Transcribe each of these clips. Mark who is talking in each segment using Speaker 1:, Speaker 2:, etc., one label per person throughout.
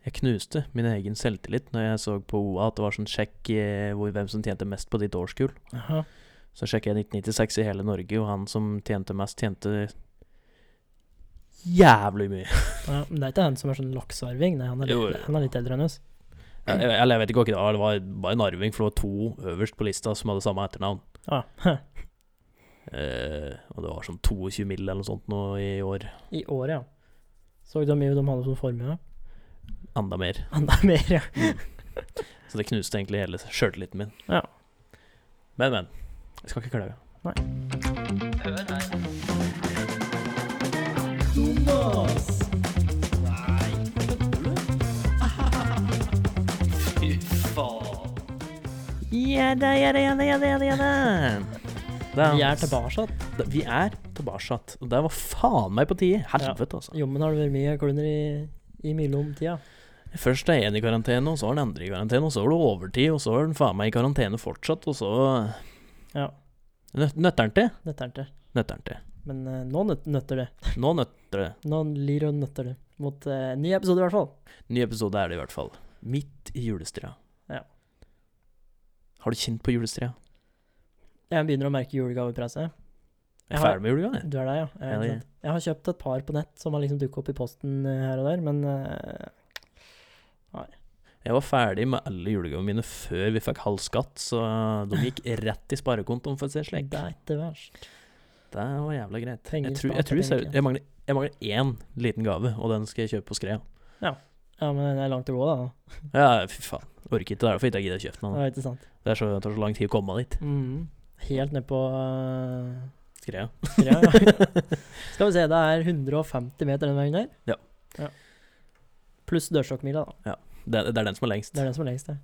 Speaker 1: Jeg knuste min egen selvtillit når jeg så på OA at det var sånn sjekk eh, hvor, hvem som tjente mest på ditt årskull.
Speaker 2: Aha.
Speaker 1: Så sjekket jeg 1996 i hele Norge, og han som tjente mest, tjente jævlig mye.
Speaker 2: Ja, men det er ikke han som er sånn laksearving, nei, han er,
Speaker 1: Jo, jo.
Speaker 2: litt, han er litt eldre enn oss.
Speaker 1: Eller jeg, vet ikke hva det var, det var bare en arving, for det var to øverst på lista som hadde samme etternavn.
Speaker 2: Ja.
Speaker 1: Eh, og det var sånn 22 mill. eller noe sånt nå i år.
Speaker 2: I året, ja. Så du hvor mye de hadde som formue?
Speaker 1: Enda mer.
Speaker 2: Enda mer, ja.
Speaker 1: Så det knuste egentlig hele sjøltilliten min.
Speaker 2: Ja.
Speaker 1: Men, men. Jeg skal ikke klage.
Speaker 2: Nei.
Speaker 1: Ja da, ja da, ja da, ja da, ja da, ja da. Da-
Speaker 2: Vi er tilbake.
Speaker 1: Da- Vi er tilbake. Og det var faen meg på tide. Helvete, altså.
Speaker 2: Jommen har det vært mye klunder i, i mellomtida.
Speaker 1: Først er én i karantene, og så er den andre i karantene, og så er det overtid, og så er den faen meg i karantene fortsatt, og så
Speaker 2: Ja.
Speaker 1: Nø- Nøtter den til?
Speaker 2: Dette er ikke
Speaker 1: Nøtter den til.
Speaker 2: Men eh, nå nøt, nøtter det.
Speaker 1: Nå nøtter det.
Speaker 2: Nå lir og nøtter det. Mot eh, ny episode, i hvert fall.
Speaker 1: Ny episode er det i hvert fall. Midt i julestria.
Speaker 2: Ja.
Speaker 1: Har du kjent på julestria?
Speaker 2: Jeg begynner å merke julegavepresset.
Speaker 1: Jeg
Speaker 2: Jeg
Speaker 1: er
Speaker 2: har-
Speaker 1: ferdig med jula, jeg.
Speaker 2: Du er der, ja?
Speaker 1: Ja,
Speaker 2: ja
Speaker 1: det
Speaker 2: ikke
Speaker 1: er.
Speaker 2: sant? Jeg har kjøpt et par på nett som har liksom dukket opp i posten eh, her og der, men eh,
Speaker 1: Jeg var ferdig med alle julegavene mine før vi fikk halv skatt, så de gikk rett i sparekontoen, for å si det slik.
Speaker 2: det er ikke verst.
Speaker 1: Det var jævla greit.
Speaker 2: Penger
Speaker 1: Jeg tror, jeg,
Speaker 2: spart,
Speaker 1: tror
Speaker 2: jeg
Speaker 1: ser,
Speaker 2: tenker.
Speaker 1: jeg, mangler, jeg mangler én liten gave, og den skal jeg kjøpe på Skrea.
Speaker 2: Ja, men det er langt å gå, da.
Speaker 1: Ja, fy faen. Orker ikke, det er derfor jeg ikke gidder å kjøpe
Speaker 2: Det
Speaker 1: den. da.
Speaker 2: er ikke sant.
Speaker 1: Det er så, det tar så lang tid å komme dit.
Speaker 2: Mm. Helt ned på eh,
Speaker 1: Skrea.
Speaker 2: Tre, ja. Skal vi se, det er 150 meter den veien der.
Speaker 1: Ja.
Speaker 2: Pluss dørstokkmila, da.
Speaker 1: Det, er- det er den som er lengst.
Speaker 2: Det er den som er lengst, det.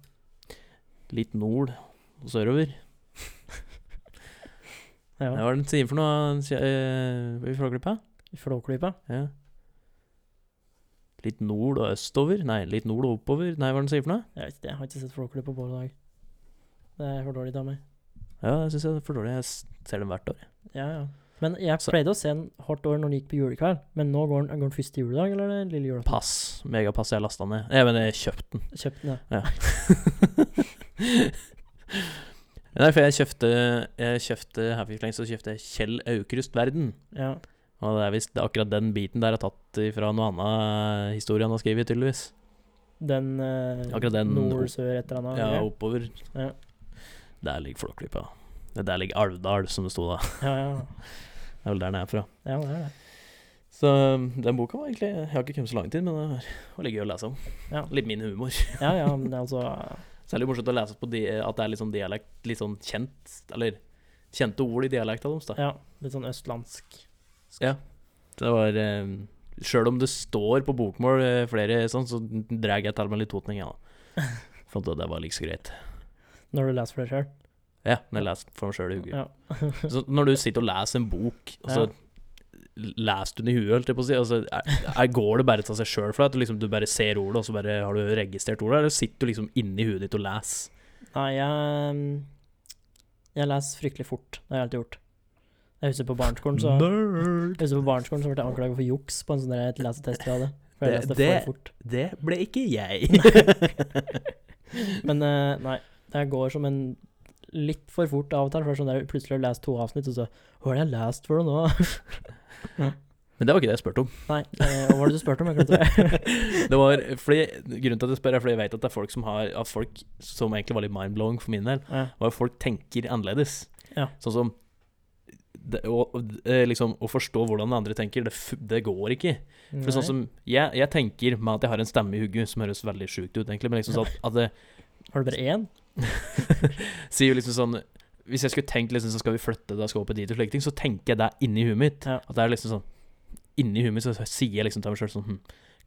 Speaker 1: Litt nord og sørover.
Speaker 2: Ja.
Speaker 1: Hva er det den sier for noe eh, i Flåklypa?
Speaker 2: I Flåklypa.
Speaker 1: Ja. Litt nord og østover? Nei, litt nord og oppover? Nei, hva er det den sier for noe?
Speaker 2: Jeg vet ikke, jeg har ikke sett Flåklypa på både dag. Det er for dårlig av meg.
Speaker 1: Ja, jeg syns jeg er for dårlig. Jeg s- ser den hvert år. jeg.
Speaker 2: Ja, ja. Men jeg
Speaker 1: Så-
Speaker 2: pleide å se den hardt år når den gikk på julekveld. Men nå går den, går den første juledag, eller er det lille julaften?
Speaker 1: Pass. Megapass. Jeg lasta ned. Jeg mener, jeg kjøpte den.
Speaker 2: Kjøpt den, ja.
Speaker 1: Nei, for jeg kjøpte, jeg kjøpte her for ikke lenge så kjøpte jeg Kjell Aukrust Verden.
Speaker 2: ja.
Speaker 1: Og det er visst akkurat den biten der er tatt fra noe annet historie han har skrevet, tydeligvis.
Speaker 2: Den, eh,
Speaker 1: Akkurat den-
Speaker 2: nord, sør, et eller annet.
Speaker 1: Ja,
Speaker 2: greier.
Speaker 1: oppover.
Speaker 2: Ah, Ja.
Speaker 1: Der ligger Flåklypa. Det Der ligger Alvdal, som det sto da.
Speaker 2: ja, ja.
Speaker 1: Det er vel der den er fra.
Speaker 2: ja, det er det.
Speaker 1: Så um, den boka var egentlig Jeg har ikke kommet så langt inn, men det var- det var litt gøy å lese om.
Speaker 2: Ja.
Speaker 1: Litt min humor.
Speaker 2: Ja, ja, men altså
Speaker 1: Særlig morsomt å lese på de, at det er litt sånn dialekt, litt sånn kjent, eller kjente ord i dialekta deres, da.
Speaker 2: Ja, litt sånn østlandsk.
Speaker 1: Det var eh, Sjøl om det står på bokmål eh, flere sånn, så drar jeg til meg litt totning, jeg, da. For at det var like så greit.
Speaker 2: Når du leser for deg sjøl.
Speaker 1: Ja, når jeg leser for meg sjøl i huet.
Speaker 2: Ja.
Speaker 1: Så når du sitter og leser en bok, og så
Speaker 2: Ja.
Speaker 1: leser du den i huet, holdt jeg på å si, og så er, er, går det bare til seg sjøl for deg? At du, liksom, du bare ser ordet, og så bare har du registrert ordet? Eller sitter du liksom inni huet ditt og leser?
Speaker 2: Nei, jeg mm, Jeg leser fryktelig fort. Det har jeg alltid gjort. Jeg husker på barneskolen, så
Speaker 1: Nerd!
Speaker 2: Jeg husker på barneskolen så ble jeg anklaget for juks på en sånn der lesetest vi hadde. For jeg
Speaker 1: Det-
Speaker 2: leste
Speaker 1: det-
Speaker 2: for fort.
Speaker 1: Det ble ikke jeg.
Speaker 2: Men eh, nei, det går som en litt for fort av og til. For sånn der, plutselig har du lest to avsnitt, og så Hva har jeg lest for noe nå?
Speaker 1: Men det var ikke det jeg spurte om.
Speaker 2: nei, eh, hva var det du spurte om? Jeg glemte det.
Speaker 1: Det var fordi, grunnen til at jeg spør, er fordi jeg vet at det er folk som har At folk som egentlig var litt mindblowing for min del,
Speaker 2: Ja,
Speaker 1: var at folk tenker annerledes.
Speaker 2: Ja.
Speaker 1: Sånn som det, å, eh, liksom, å forstå hvordan den andre tenker, det, f- det går ikke. For
Speaker 2: nei.
Speaker 1: sånn som jeg, jeg tenker med at jeg har en stemme i hugget som høres veldig sjukt ut, egentlig, men liksom sånn at, at det
Speaker 2: Har du bare én?
Speaker 1: sier jo liksom sånn Hvis jeg skulle tenkt liksom, så skal vi flytte, da skal vi opp dit og slike ting, så tenker jeg det inni huet mitt.
Speaker 2: Ja.
Speaker 1: At det er liksom sånn Inni huet mitt så sier jeg liksom til meg sjøl sånn hm,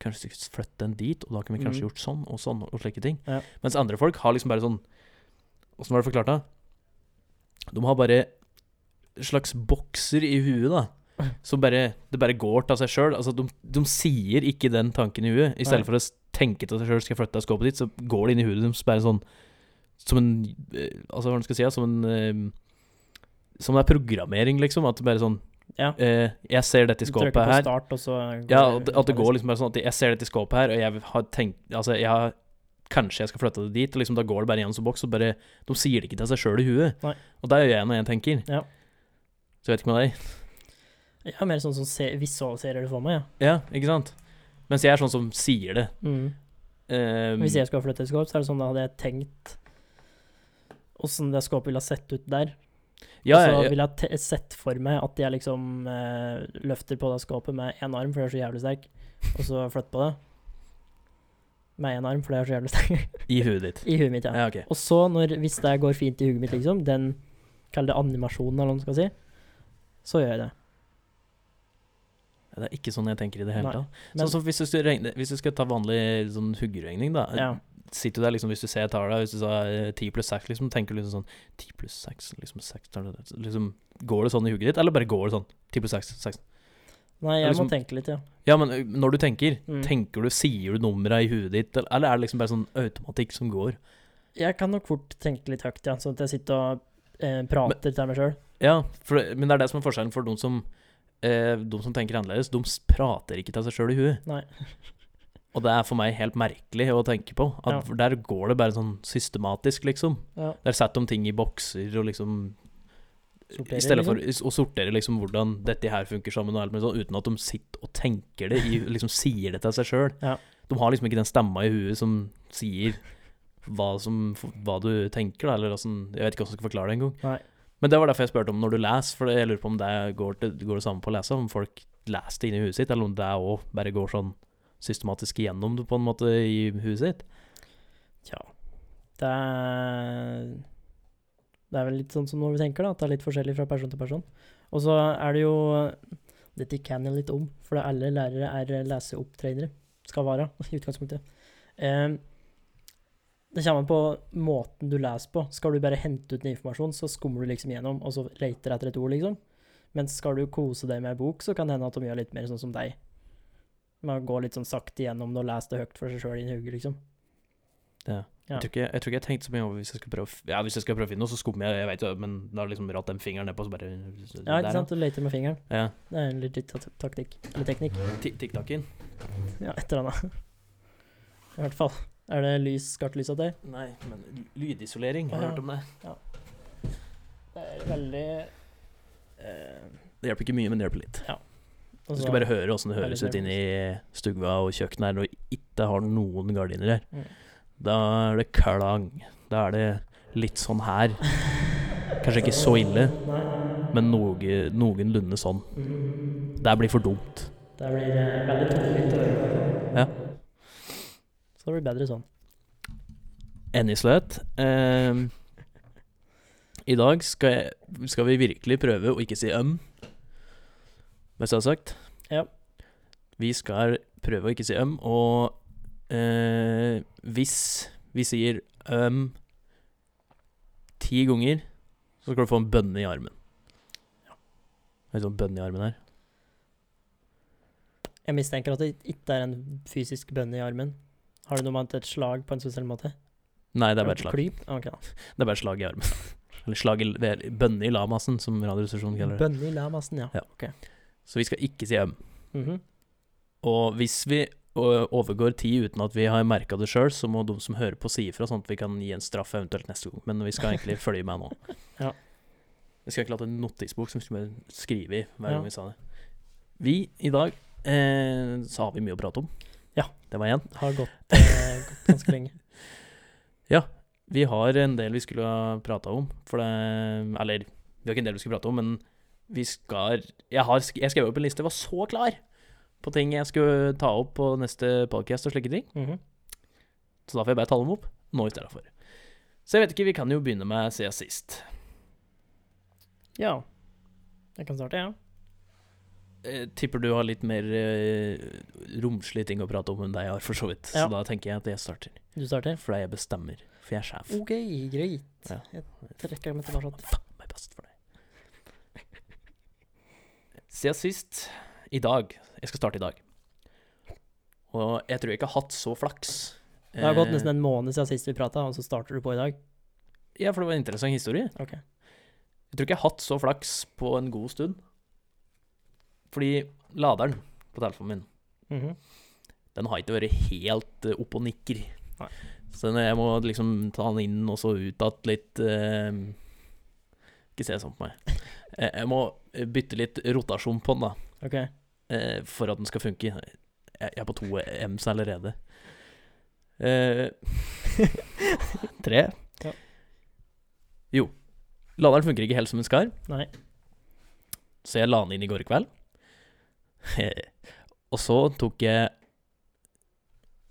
Speaker 1: Kanskje vi skulle flytte den dit, og da kunne vi kanskje
Speaker 2: Mm.
Speaker 1: gjort sånn og sånn og slike ting.
Speaker 2: Ja.
Speaker 1: Mens andre folk har liksom bare sånn Åssen var det forklart, da? De har bare slags bokser i huet, da. Som bare Det bare går til seg sjøl. Altså, de, de sier ikke den tanken i huet. I
Speaker 2: Nei.
Speaker 1: stedet for å s- tenke til seg sjøl skal jeg flytte, jeg skal opp dit, så går det inn i huet deres bare sånn som en eh, Altså, hva skal jeg si? ja, Som en eh, Som det er programmering, liksom. At det bare sånn
Speaker 2: Ja.
Speaker 1: Eh, jeg ser dette i
Speaker 2: Trykker
Speaker 1: skåpet
Speaker 2: på
Speaker 1: her.
Speaker 2: start, og så
Speaker 1: Ja, at, at det går liksom bare sånn at jeg ser dette i skåpet her, og jeg har tenkt Altså, jeg har Kanskje jeg skal flytte det dit, og liksom da går det bare igjen som boks, og bare De sier det ikke til seg sjøl i huet.
Speaker 2: Nei.
Speaker 1: Og det gjør jeg når jeg tenker.
Speaker 2: Ja.
Speaker 1: Så jeg vet ikke med deg.
Speaker 2: Jeg har mer sånn som se, visualiserer det for meg, ja.
Speaker 1: Ja, ikke sant? Mens jeg er sånn som sier det.
Speaker 2: Mm.
Speaker 1: Um,
Speaker 2: Hvis jeg skulle ha flyttet et skåp, så er det sånn da hadde jeg tenkt åssen det skåpet ville ha sett ut der.
Speaker 1: ja,
Speaker 2: og så
Speaker 1: ja, ja,
Speaker 2: ville jeg te- sett for meg at jeg liksom eh, løfter på det skåpet med én arm, for det er så jævlig sterk, og så flytter på det med én arm, for det er så jævlig sterk,
Speaker 1: I huet ditt.
Speaker 2: i huet mitt, ja.
Speaker 1: Ja, ok.
Speaker 2: Og så, når, hvis det går fint i huet mitt, liksom, den Kall det animasjonen, eller hva man skal si, så gjør jeg det.
Speaker 1: Ja, Det er ikke sånn jeg tenker i det
Speaker 2: Nei,
Speaker 1: hele tatt.
Speaker 2: men-
Speaker 1: Sånn som hvis du, skal regne, hvis du skal ta vanlig sånn huggeregning, da.
Speaker 2: Ja.
Speaker 1: Sitter du der, liksom, hvis du ser tallene, hvis du sa eh, 10 pluss 6, liksom, tenker du liksom sånn 10 pluss 6, liksom 6 tar det- liksom, Går det sånn i hugget ditt, eller bare går det sånn? 10 pluss 6, 16.
Speaker 2: Nei, jeg
Speaker 1: liksom-
Speaker 2: må tenke litt, ja.
Speaker 1: Ja, men ø, når du tenker,
Speaker 2: Mm.
Speaker 1: tenker du, sier du numra i huet ditt, eller, eller er det liksom bare sånn automatikk som går?
Speaker 2: Jeg kan nok fort tenke litt høyt, ja, sånn at jeg sitter og eh, prater til meg sjøl.
Speaker 1: Ja, for, det- men det er det som er forskjellen for de som, eh, de som tenker annerledes. De s- prater ikke til seg sjøl i huet.
Speaker 2: Nei.
Speaker 1: Og det er for meg helt merkelig å tenke på. At
Speaker 2: Ja.
Speaker 1: for Der går det bare sånn systematisk, liksom.
Speaker 2: Ja.
Speaker 1: Der setter de ting i bokser og liksom
Speaker 2: Sorterer,
Speaker 1: I stedet for å sortere liksom hvordan dette her funker sammen, og alt mulig sånn, uten at de sitter og tenker det, i, liksom sier det til seg sjøl.
Speaker 2: Ja.
Speaker 1: De har liksom ikke den stemma i huet som sier hva, som, hva du tenker, da, eller åssen Jeg vet ikke hvordan jeg skal forklare det engang.
Speaker 2: Nei.
Speaker 1: Men det var derfor jeg spurte om når du leser, for jeg lurer på om det går, til, går det samme på å lese, om folk leser det inni huet sitt, eller om det òg bare går sånn systematisk igjennom det, på en måte, i huet sitt.
Speaker 2: Tja. Det er, det er vel litt sånn som når vi tenker, da. At det er litt forskjellig fra person til person. Og så er det jo Dette kan jeg litt om, for det er alle lærere er leseopptrenere. Skal være, i utgangspunktet. Eh, det kommer an på måten du leser på. Skal du bare hente ut en informasjon, så skummer du liksom gjennom, og så leter etter et ord, liksom. Men skal du kose deg med ei bok, så kan det hende at de gjør litt mer sånn som deg. Man går litt sånn sakte gjennom det og leser det høyt for seg sjøl i hodet, liksom. Ja.
Speaker 1: Jeg, tror ikke, jeg tror ikke jeg tenkte så mye over hvis jeg skal prøve å f- Ja, hvis jeg skal prøve å finne noe, så skummer jeg, jeg vet jo, men da har jeg liksom ratt den fingeren nedpå, så bare
Speaker 2: Ja, ikke sant? Du leter med fingeren.
Speaker 1: Ja.
Speaker 2: Det er en legit ta- taktikk. Eller teknikk.
Speaker 1: Ti- Tikk-takken?
Speaker 2: Ja, et eller annet. I hvert fall. Er det lys, skarpt lys av deg?
Speaker 1: Nei, men l- lydisolering, har du
Speaker 2: Ja.
Speaker 1: hørt om det?
Speaker 2: Det er veldig eh,
Speaker 1: Det hjelper ikke mye, men det hjelper litt. Du
Speaker 2: altså-
Speaker 1: skal bare høre åssen det
Speaker 2: Ja,
Speaker 1: høres
Speaker 2: litt
Speaker 1: ut inni stua og kjøkkenet her når du ikke har noen gardiner her.
Speaker 2: Mm.
Speaker 1: Da er det klang. Da er det litt sånn her. Kanskje ikke så ille,
Speaker 2: Nei.
Speaker 1: men noe, noenlunde sånn.
Speaker 2: Mm.
Speaker 1: Det blir for dumt.
Speaker 2: Det blir eh, veldig tungvint å høre.
Speaker 1: Ja.
Speaker 2: Så det blir bedre sånn.
Speaker 1: Enn i sløt. Ehm, I dag skal, jeg, skal vi virkelig prøve å ikke si øm, hvis jeg har sagt.
Speaker 2: Ja.
Speaker 1: Vi skal prøve å ikke si øm, og eh, hvis vi sier øm ti ganger, så skal du få en bønne i armen. En sånn bønne i armen her.
Speaker 2: Jeg mistenker at det ikke er en fysisk bønne i armen. Har du noe med at et slag på en spesiell måte?
Speaker 1: Nei, det er bare et slag.
Speaker 2: Klyp? Ah, Ok, da.
Speaker 1: Det er bare et slag i armen. Eller slag i, det er bønne i lamasen, som Radioresepsjonen Sånn kaller det.
Speaker 2: Bønne i lamasen, ja.
Speaker 1: Ja.
Speaker 2: Ok.
Speaker 1: Så vi skal ikke si øm.
Speaker 2: Mhm.
Speaker 1: Og hvis vi ø, overgår ti uten at vi har merka det sjøl, så må de som hører på, si ifra, sånn at vi kan gi en straff eventuelt neste gang. Men vi skal egentlig følge med nå.
Speaker 2: Ja.
Speaker 1: Vi skal egentlig hatt en notisbok som vi skulle bare skrive i hver
Speaker 2: Ja.
Speaker 1: gang vi sa det. Vi i dag eh, så har vi mye å prate om.
Speaker 2: Ja.
Speaker 1: Det var én.
Speaker 2: Har gått, eh, gått ganske lenge.
Speaker 1: Vi har en del vi skulle ha prata om, for det Eller, vi har ikke en del vi skulle prate om, men vi skal Jeg, har, sk- jeg skrev opp en liste, jeg var så klar på ting jeg skulle ta opp på neste podcast og slike ting.
Speaker 2: Mhm.
Speaker 1: Så da får jeg bare ta dem opp nå i stedet for. Så jeg vet ikke, vi kan jo begynne med siden sist.
Speaker 2: Ja. Jeg kan starte, ja.
Speaker 1: Eh, tipper du har litt mer eh, romslige ting å prate om enn deg har, for så vidt.
Speaker 2: Ja.
Speaker 1: Så da tenker jeg at jeg starter.
Speaker 2: Du starter?
Speaker 1: For det er jeg bestemmer. For jeg er sjef.
Speaker 2: OK, greit.
Speaker 1: Ja.
Speaker 2: Jeg trekker meg tilbake. at-
Speaker 1: Faen meg best for deg. Siden sist, i dag Jeg skal starte i dag. Og jeg tror jeg ikke har hatt så flaks.
Speaker 2: Det har
Speaker 1: Eh.
Speaker 2: gått nesten en måned siden sist vi prata, og så starter du på i dag.
Speaker 1: Ja, for det var en interessant historie.
Speaker 2: Ok.
Speaker 1: Jeg tror ikke jeg har hatt så flaks på en god stund. Fordi laderen på telefonen min,
Speaker 2: Mhm.
Speaker 1: den har ikke vært helt eh, opp og nikker.
Speaker 2: Nei.
Speaker 1: Så når jeg må liksom ta den inn og så ut igjen litt eh, Ikke se sånn på meg. Eh, Jeg må eh, bytte litt rotasjon på den, da.
Speaker 2: OK.
Speaker 1: eh, for at den skal funke. Jeg, jeg er på to M's allerede. Eh, tre.
Speaker 2: Ja.
Speaker 1: Jo. Laderen funker ikke helt som den skal,
Speaker 2: Nei.
Speaker 1: så jeg la den inn i går kveld. og så tok jeg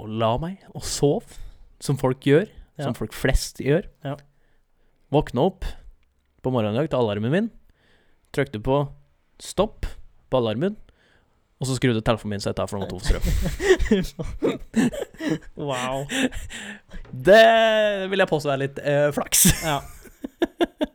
Speaker 1: og la meg og sov, som folk gjør.
Speaker 2: Ja.
Speaker 1: Som folk flest gjør.
Speaker 2: Ja.
Speaker 1: Våkna opp på morgenen i dag til alarmen min. Trykte på stopp på alarmen. Og så skrudde telefonen min seg av for den var tom for strøm.
Speaker 2: wow.
Speaker 1: Det vil jeg påstå er litt eh, flaks.
Speaker 2: Ja.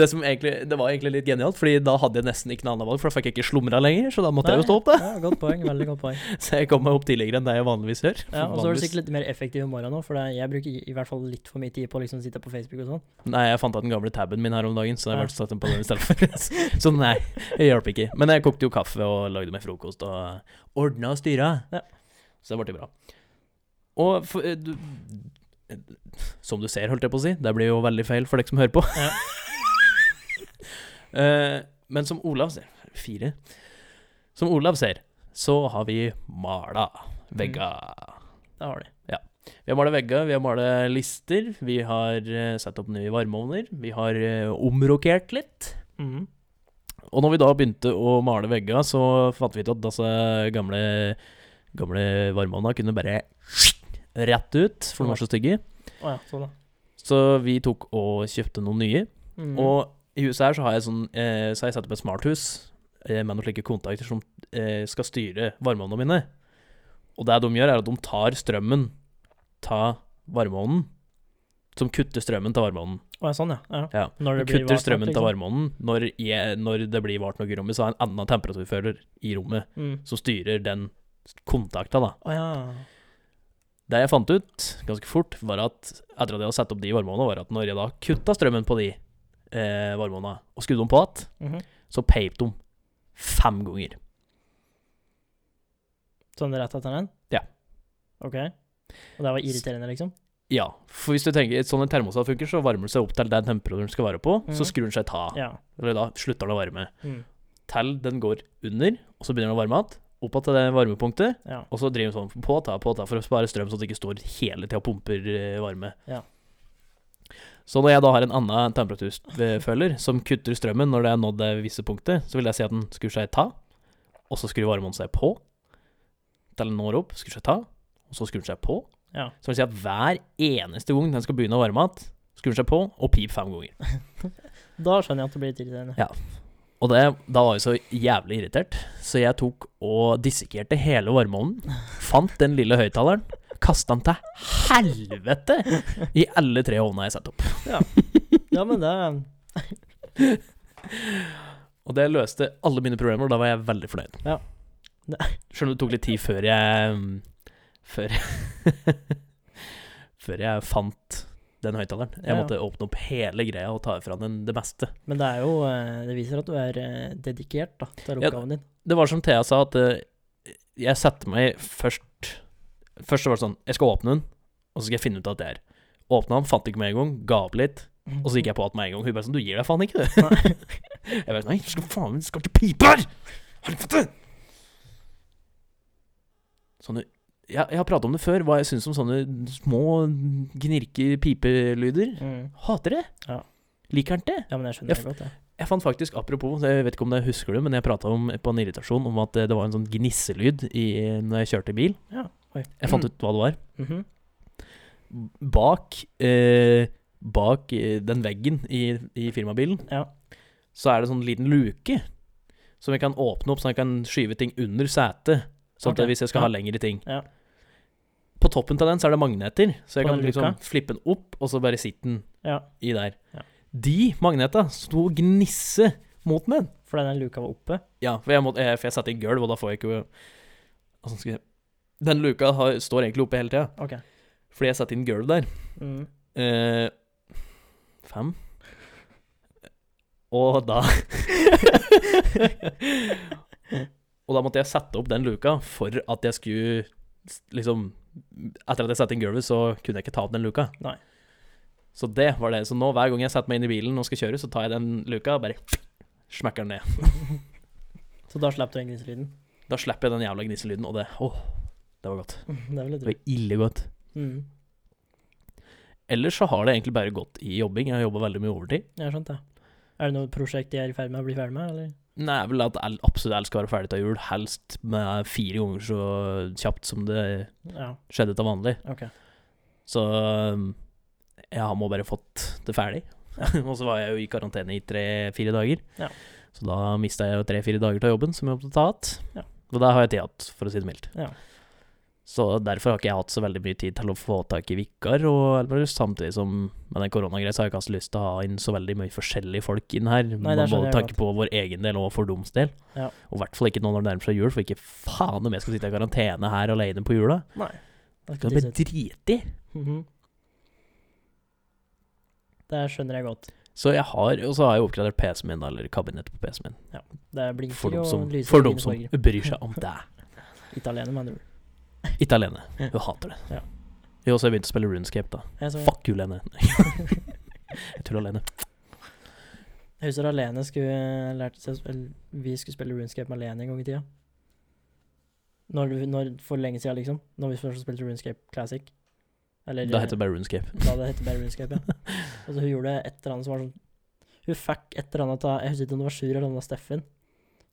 Speaker 1: Det, som egentlig, det var egentlig litt genialt, Fordi da hadde jeg nesten ikke noe annet valg, for da fikk jeg ikke slumra lenger. Så da måtte jeg jo
Speaker 2: Nei,
Speaker 1: stå opp, da.
Speaker 2: Ja, godt poeng. Veldig godt poeng.
Speaker 1: Så jeg kom meg opp tidligere enn det jeg vanligvis gjør.
Speaker 2: Ja, og så er du
Speaker 1: Vanligvis-
Speaker 2: sikkert litt mer effektiv om morgenen nå, for det- jeg bruker i, i hvert fall litt for mye tid på å liksom sitte på Facebook og sånn.
Speaker 1: Nei, jeg fant av den gamle tabben min her om dagen, så jeg
Speaker 2: Ja.
Speaker 1: valgte å sette den på den istedenfor. så nei, det hjalp ikke. Men jeg kokte jo kaffe og lagde meg frokost og ordna og styra.
Speaker 2: Ja.
Speaker 1: Så det ble bra. Og for, eh, du, eh, som du ser, holdt jeg på å si, det blir jo veldig feil for dere som hører på. Eh, men som Olav ser Fire. Som Olav ser, så har vi mala
Speaker 2: Mm.
Speaker 1: vegga.
Speaker 2: Det har de.
Speaker 1: Vi har malt vegger, vi har malt lister, vi har eh, satt opp nye varmeovner, vi har eh, omrokert litt.
Speaker 2: Mhm.
Speaker 1: Og når vi da begynte å male veggene, så fant vi ut at disse gamle, gamle varmeovnene kunne bare rett ut, for de var så stygge.
Speaker 2: Å ja, sånn da.
Speaker 1: Så vi tok og kjøpte noen nye.
Speaker 2: Mhm.
Speaker 1: Og i huset her så har jeg sånn eh, Så har jeg satt opp et smarthus eh, med noen slike kontakter som eh, skal styre varmeovnene mine. Og det de gjør, er at de tar strømmen ta varmeovnen, som kutter strømmen til varmeovnen.
Speaker 2: Å ja, sånn, ja. ja.
Speaker 1: Ja.
Speaker 2: Når
Speaker 1: De
Speaker 2: det blir
Speaker 1: kutter
Speaker 2: varmt,
Speaker 1: strømmen til
Speaker 2: liksom.
Speaker 1: varmeovnen når, jeg, når det blir varmt nok i rommet, så har jeg en annen temperaturfører i rommet
Speaker 2: Mhm.
Speaker 1: som styrer den kontakta, da.
Speaker 2: Å ja.
Speaker 1: Det jeg fant ut ganske fort, var at etter at jeg hadde satt opp de varmeovnene, var at når jeg da kutta strømmen på de eh, varmeovnene og skrudde dem på igjen,
Speaker 2: Mhm.
Speaker 1: så peip de fem ganger.
Speaker 2: Sånn rett etter den?
Speaker 1: Ja.
Speaker 2: OK. Og det var irriterende, liksom?
Speaker 1: Ja, for hvis du tenker sånn en termostat funker, så varmer den seg opp til den temperaturen den skal være på, så
Speaker 2: Mhm.
Speaker 1: skrur den seg ta,
Speaker 2: Ja.
Speaker 1: eller da slutter den å varme.
Speaker 2: Mhm.
Speaker 1: Til den går under, og så begynner den å varme igjen, opp til det varmepunktet,
Speaker 2: ja.
Speaker 1: og så driver den sånn på og ta, på og ta, for å spare strøm, så det ikke står hele tida og pumper eh, varme.
Speaker 2: Ja.
Speaker 1: Så når jeg da har en annen temperaturfølger som kutter strømmen når det er nådd det visse punktet, så vil jeg si at den skrur seg ta, og så skrur varmen seg på, til den når opp, skrur seg ta, og så skrur den seg på.
Speaker 2: Ja.
Speaker 1: Så vil jeg si at hver eneste gang den skal begynne å varme igjen, skrur den seg på, og pip fem ganger.
Speaker 2: Da skjønner jeg at det blir litt irriterende.
Speaker 1: Og det, da var jeg så jævlig irritert, så jeg tok og dissekerte hele varmeovnen. Fant den lille høyttaleren, kasta den til helvete i alle tre ovnene jeg satte opp.
Speaker 2: Ja, men det
Speaker 1: Og det løste alle mine problemer, og da var jeg veldig fornøyd.
Speaker 2: Ja.
Speaker 1: Selv om det tok litt tid før jeg mm, Før, før jeg fant den høyttaleren. Jeg
Speaker 2: Ja, ja.
Speaker 1: måtte åpne opp hele greia og ta ifra den det meste.
Speaker 2: Men det er jo eh, Det viser at du er eh, dedikert da, til
Speaker 1: Ja.
Speaker 2: oppgaven din.
Speaker 1: Det var som Thea sa, at eh, jeg satte meg først Først så var det sånn Jeg skal åpne den, og så skal jeg finne ut at det er. Åpna den, fant ikke med en gang, ga opp litt, og så gikk jeg på igjen med en gang. Hun bare sånn Du gir deg faen ikke, du. jeg bare sånn Nei, skal faen meg Skal ikke pipe her! Helvete! Sånne jeg, jeg har prata om det før, hva jeg syns om sånne små gnirke-pipelyder.
Speaker 2: mm.
Speaker 1: Hater det.
Speaker 2: Ja.
Speaker 1: Liker han det?
Speaker 2: Ja, men jeg skjønner
Speaker 1: Jeg
Speaker 2: det godt, jeg.
Speaker 1: Jeg fant faktisk, apropos, jeg vet ikke om jeg husker det, men jeg prata om på en irritasjon om at det var en sånn gnisselyd i, når jeg kjørte bil.
Speaker 2: Ja. Oi.
Speaker 1: Jeg fant ut hva det var.
Speaker 2: Mhm.
Speaker 1: Bak, eh, bak eh, den veggen i, i firmabilen,
Speaker 2: Ja.
Speaker 1: så er det sånn liten luke som jeg kan åpne opp, så jeg kan skyve ting under setet. Sånn
Speaker 2: Ok,
Speaker 1: at hvis jeg skal
Speaker 2: ja.
Speaker 1: ha lengre ting.
Speaker 2: Ja.
Speaker 1: På toppen av den så er det magneter, så jeg
Speaker 2: På
Speaker 1: kan
Speaker 2: den luka?
Speaker 1: liksom flippe den opp, og så bare sitte den
Speaker 2: ja.
Speaker 1: i der.
Speaker 2: Ja.
Speaker 1: De magneta sto og gnisse mot meg.
Speaker 2: For den der luka var oppe.
Speaker 1: Ja, for jeg, må, eh, for jeg setter i gulv, og da får jeg ikke Altså, skal jeg Den luka har, står egentlig oppe hele tida,
Speaker 2: OK.
Speaker 1: fordi jeg setter inn gulv der.
Speaker 2: Mm.
Speaker 1: Eh, fem. Og da Og da måtte jeg sette opp den luka for at jeg skulle s- liksom Etter at jeg satte inn gulvet, så kunne jeg ikke ta opp den luka.
Speaker 2: Nei.
Speaker 1: Så det var det. Så nå hver gang jeg setter meg inn i bilen og skal kjøre, så tar jeg den luka og bare smekker den ned.
Speaker 2: Så da slapp du den griselyden.
Speaker 1: Da slipper jeg den jævla gniselyden, og det Åh, det var godt.
Speaker 2: Det er vel litt
Speaker 1: Det var
Speaker 2: drøyt.
Speaker 1: ille godt.
Speaker 2: Mm.
Speaker 1: Ellers så har det egentlig bare gått i jobbing. Jeg har jobba veldig mye overtid.
Speaker 2: Jeg har skjønt det. Er det noe prosjekt de er i ferd med å bli ferdig med, eller?
Speaker 1: Nei, jeg vil at el- absolutt alt skal være ferdig til jul, helst med fire ganger så kjapt som det
Speaker 2: Ja,
Speaker 1: skjedde til vanlig.
Speaker 2: OK.
Speaker 1: Så um, jeg har må bare fått det ferdig. og så var jeg jo i karantene i tre-fire dager.
Speaker 2: Ja.
Speaker 1: Så da mista jeg jo tre-fire dager til jobben, som jeg måtte ta igjen.
Speaker 2: Ja.
Speaker 1: Og da har jeg tid igjen, for å si det mildt.
Speaker 2: Ja.
Speaker 1: Så derfor har ikke jeg hatt så veldig mye tid til å få tak i vikar. Og eller, samtidig som med den koronagreia, så har jeg ikke hatt så lyst til å ha inn så veldig mye forskjellige folk inn her.
Speaker 2: det
Speaker 1: Med
Speaker 2: skjønner
Speaker 1: både
Speaker 2: jeg
Speaker 1: tanke på vår egen del og for doms del.
Speaker 2: Ja.
Speaker 1: Og i hvert fall ikke nå når det nærmer seg jul, for ikke faen om jeg skal sitte i karantene her alene på jula.
Speaker 2: Nei. Da
Speaker 1: Skal
Speaker 2: skal
Speaker 1: det
Speaker 2: tisse
Speaker 1: bli
Speaker 2: ut.
Speaker 1: driti?
Speaker 2: Mhm. Det skjønner jeg godt.
Speaker 1: Så jeg har, og så har jeg oppgradert PC-en min, da, eller kabinettet på PC-en min.
Speaker 2: Det blinker
Speaker 1: For dem som,
Speaker 2: og lyser
Speaker 1: for
Speaker 2: i
Speaker 1: dem
Speaker 2: mine
Speaker 1: som
Speaker 2: farger.
Speaker 1: bryr seg om det.
Speaker 2: Ikke alene, med andre ord.
Speaker 1: Ikke alene. Hun hater det.
Speaker 2: Ja.
Speaker 1: Jo, så har jeg begynt å spille Runescape, da.
Speaker 2: Jeg, så-
Speaker 1: Fuck you, Lene. Nei. jeg tuller alene.
Speaker 2: jeg husker alene skulle lært seg å spille- Vi skulle spille runescape med alene en gang i tida. Når, du- når, for lenge siden, liksom. Når vi først spilte runescape classic. Eller
Speaker 1: Da heter det bare Runescape.
Speaker 2: Da det heter bare runescape, ja. Og så hun gjorde et eller annet som var sånn Hun fikk et eller annet av Jeg husker ikke om det var Sjur eller om det var Steffen,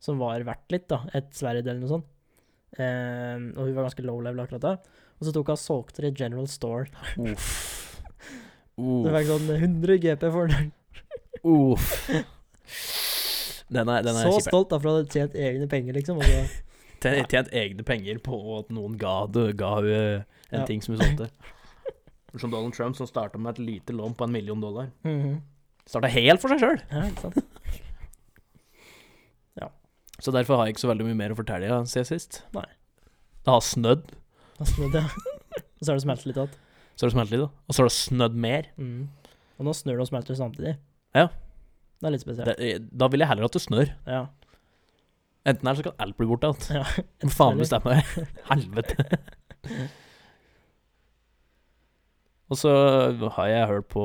Speaker 2: som var verdt litt, da. Et sverd eller noe sånt. Eh, og hun var ganske low level akkurat da. Og så tok hun og solgte det i General Store.
Speaker 1: Uff.
Speaker 2: Det
Speaker 1: Uff.
Speaker 2: fikk sånn 100 GP for den.
Speaker 1: Uff. Den er, den er
Speaker 2: Så
Speaker 1: kjip.
Speaker 2: stolt da for å ha tjent egne penger, liksom. Og så
Speaker 1: Tjent, tjent egne penger på at noen ga, det- ga hun en
Speaker 2: Ja.
Speaker 1: ting som hun solgte. Som Donald Trump, som starta med et lite lån på en million dollar.
Speaker 2: Mhm.
Speaker 1: Starta helt for seg sjøl!
Speaker 2: Ja, ikke sant?
Speaker 1: Så derfor har jeg ikke så veldig mye mer å fortelle ja, siden sist.
Speaker 2: Nei.
Speaker 1: Det har snødd,
Speaker 2: Da snødde det. Og så har det smelt litt igjen.
Speaker 1: så har det smelt litt, da. og så har det snødd mer.
Speaker 2: Mhm. Og nå snør det og smelter samtidig.
Speaker 1: Mm. Ja.
Speaker 2: Det er litt spesielt.
Speaker 1: Det, eh, da vil jeg heller at det snør.
Speaker 2: Ja.
Speaker 1: Enten her så kan alt bli borte igjen.
Speaker 2: ja.
Speaker 1: Må faen bestemme meg. Helvete. Og så har jeg hørt på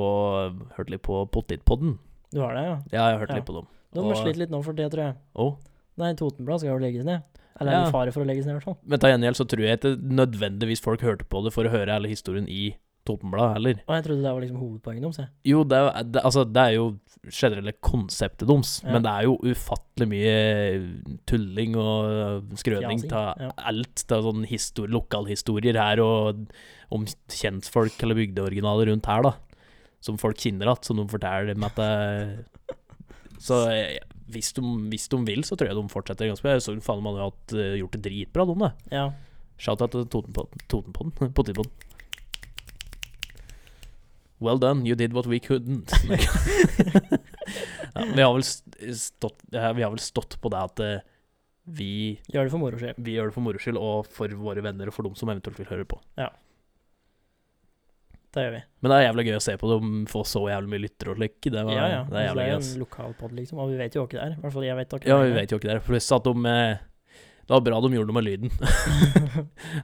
Speaker 1: Hørt litt på Pottitpodden.
Speaker 2: Du har det, ja?
Speaker 1: Ja, jeg har hørt
Speaker 2: Ja.
Speaker 1: litt på dem.
Speaker 2: De må
Speaker 1: Og-
Speaker 2: slite litt nå for det, tror jeg.
Speaker 1: Og
Speaker 2: Nei, Totenblad skal jo legges ned. Eller er
Speaker 1: Ja.
Speaker 2: det fare for å legges ned, i hvert fall.
Speaker 1: men til gjengjeld så tror jeg ikke nødvendigvis folk hørte på det for å høre hele historien i Totenbladet heller.
Speaker 2: Og jeg trodde det var liksom hovedpoenget deres, jeg.
Speaker 1: Jo, det er, det, altså, det er jo generelle konseptet deres,
Speaker 2: Ja.
Speaker 1: men det er jo ufattelig mye eh, tulling og eh, skrøning
Speaker 2: Fjasing,
Speaker 1: av
Speaker 2: ja.
Speaker 1: alt. Det er sånn histor lokalhistorier her og om kjentfolk eller bygdeoriginaler rundt her, da. Som folk kjenner igjen, som de forteller med at det Så eh, hvis de, hvis de vil, så tror jeg de fortsetter ganske bra. Jeg så faen meg de har hatt, eh, gjort det dritbra, de, da.
Speaker 2: Ja.
Speaker 1: Shout-out til Totenpodden. Totenpodden? Potetpodden. Well done, you did what we couldn't. ja, vi, har vel st- stått, ja, vi har vel stått på det at eh, vi,
Speaker 2: Gjør det for moro skyld.
Speaker 1: vi gjør det for moro skyld, og for våre venner og for dem som eventuelt vil høre på.
Speaker 2: Det gjør vi.
Speaker 1: Men det er jævlig gøy å se på dem få så jævlig mye lyttere og slik. Det, var,
Speaker 2: ja, ja.
Speaker 1: det er
Speaker 2: Altså,
Speaker 1: jævlig gøy.
Speaker 2: jo
Speaker 1: ass.
Speaker 2: en lokalpod, liksom. Og vi vet jo hva det er. I hvert fall jeg vet hva
Speaker 1: Ja, vi vet jo ikke det. Pluss at de eh, Det var bra de gjorde noe med lyden.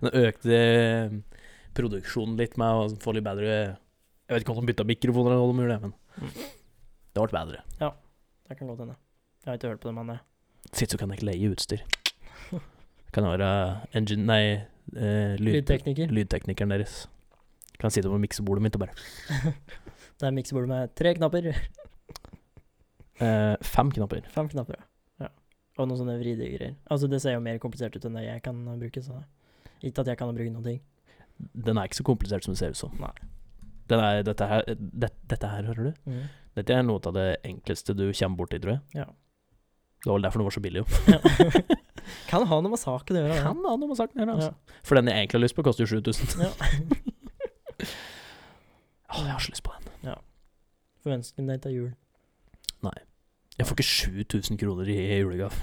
Speaker 1: Den økte eh, produksjonen litt med å få litt bedre Jeg vet ikke om de bytta mikrofoner eller hva de gjorde, men det ble bedre.
Speaker 2: Det kan godt hende. Jeg har ikke hørt på det, men eh,
Speaker 1: Sitt så kan jeg ikke leie utstyr. Kan jeg være engine... Nei, eh, lyd,
Speaker 2: lydtekniker.
Speaker 1: lydteknikeren deres. Kan sitte på miksebordet mitt og bare
Speaker 2: Det er miksebordet med tre knapper.
Speaker 1: eh, Fem knapper.
Speaker 2: Fem knapper, ja. ja. Og noen sånne vridegreier. Altså, det ser jo mer komplisert ut enn det jeg kan eh, bruke, så ikke at jeg kan bruke noen ting.
Speaker 1: Den er ikke så komplisert som det ser ut som.
Speaker 2: Nei.
Speaker 1: Den er, dette, her, eh, det, dette her, hører du?
Speaker 2: Mhm.
Speaker 1: Dette er noe av det enkleste du kommer borti, tror jeg.
Speaker 2: Ja.
Speaker 1: Det var vel derfor den var så billig, jo.
Speaker 2: Ja. kan ha noe med saken å gjøre. da.
Speaker 1: Kan ha noe med saken å gjøre,
Speaker 2: Ja.
Speaker 1: altså. For den jeg egentlig har lyst på, koster jo 7000.
Speaker 2: Ja.
Speaker 1: Åh, jeg har så lyst på den.
Speaker 2: Får ønske deg til jul.
Speaker 1: Jeg får ikke 7000 kroner i julegave.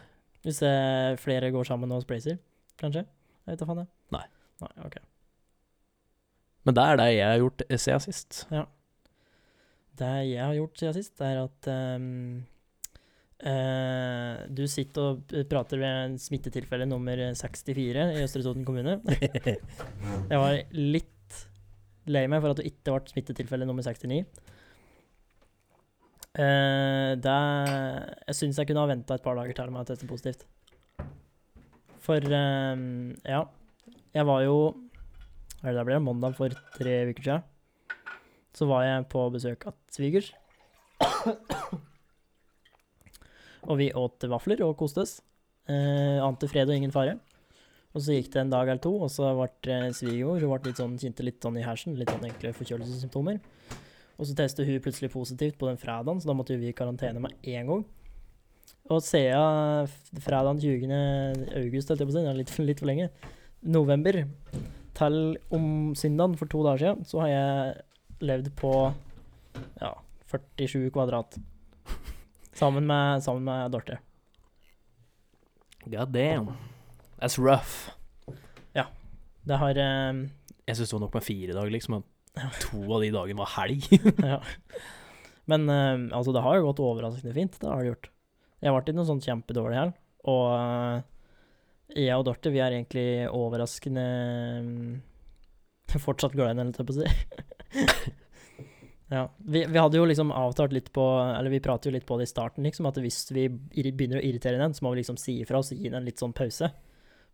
Speaker 2: Hvis eh, flere går sammen og sprayer, kanskje? Jeg vet da faen, jeg.
Speaker 1: Nei.
Speaker 2: Nei, ok.
Speaker 1: Men det er det jeg har gjort eh, siden sist.
Speaker 2: Det jeg har gjort siden sist, er at ehm, eh, du sitter og p- prater ved smittetilfelle nummer 64 i Østre Toten kommune. Jeg var litt lei meg for at du ikke ble smittetilfelle nummer 69. Eh, det, jeg syns jeg kunne ha venta et par dager til med å teste positivt. For eh, ja, jeg var jo Hva er det det ble? Mandag for tre uker siden. Så var jeg på besøk av svigers. og vi åt vafler og koste oss. Eh, ante fred og ingen fare. Og så gikk det en dag eller to, og så ble eh, svigermor hun ble litt sånn, kjente litt sånn i hersen, litt sånn egentlig forkjølelsessymptomer. Og så testet hun plutselig positivt på den fredagen, så da måtte jo vi i karantene med en gang. Og siden f- fredagen 20. august, holdt jeg på å si, det er litt, litt for lenge, november, til om søndagen for to dager siden, så har jeg levd på ja, 47 kvadrat. Sammen med, sammen med Dorte.
Speaker 1: God damn. That's rough.
Speaker 2: Det har eh,
Speaker 1: Jeg syns det var nok med fire dager, liksom. og To av de dagene var helg.
Speaker 2: ja. Men eh, altså, det har jo gått overraskende fint. Det har det gjort. Jeg ble ikke noe sånn kjempedårlig her. Og eh, jeg og Dorte, vi er egentlig overraskende mm, Fortsatt glad i henne, holdt jeg på å si. ja. Vi, vi hadde jo liksom avtalt litt på Eller vi pratet jo litt på det i starten, liksom, at hvis vi irri- begynner å irritere den, så må vi liksom si ifra og så gi den en litt sånn pause.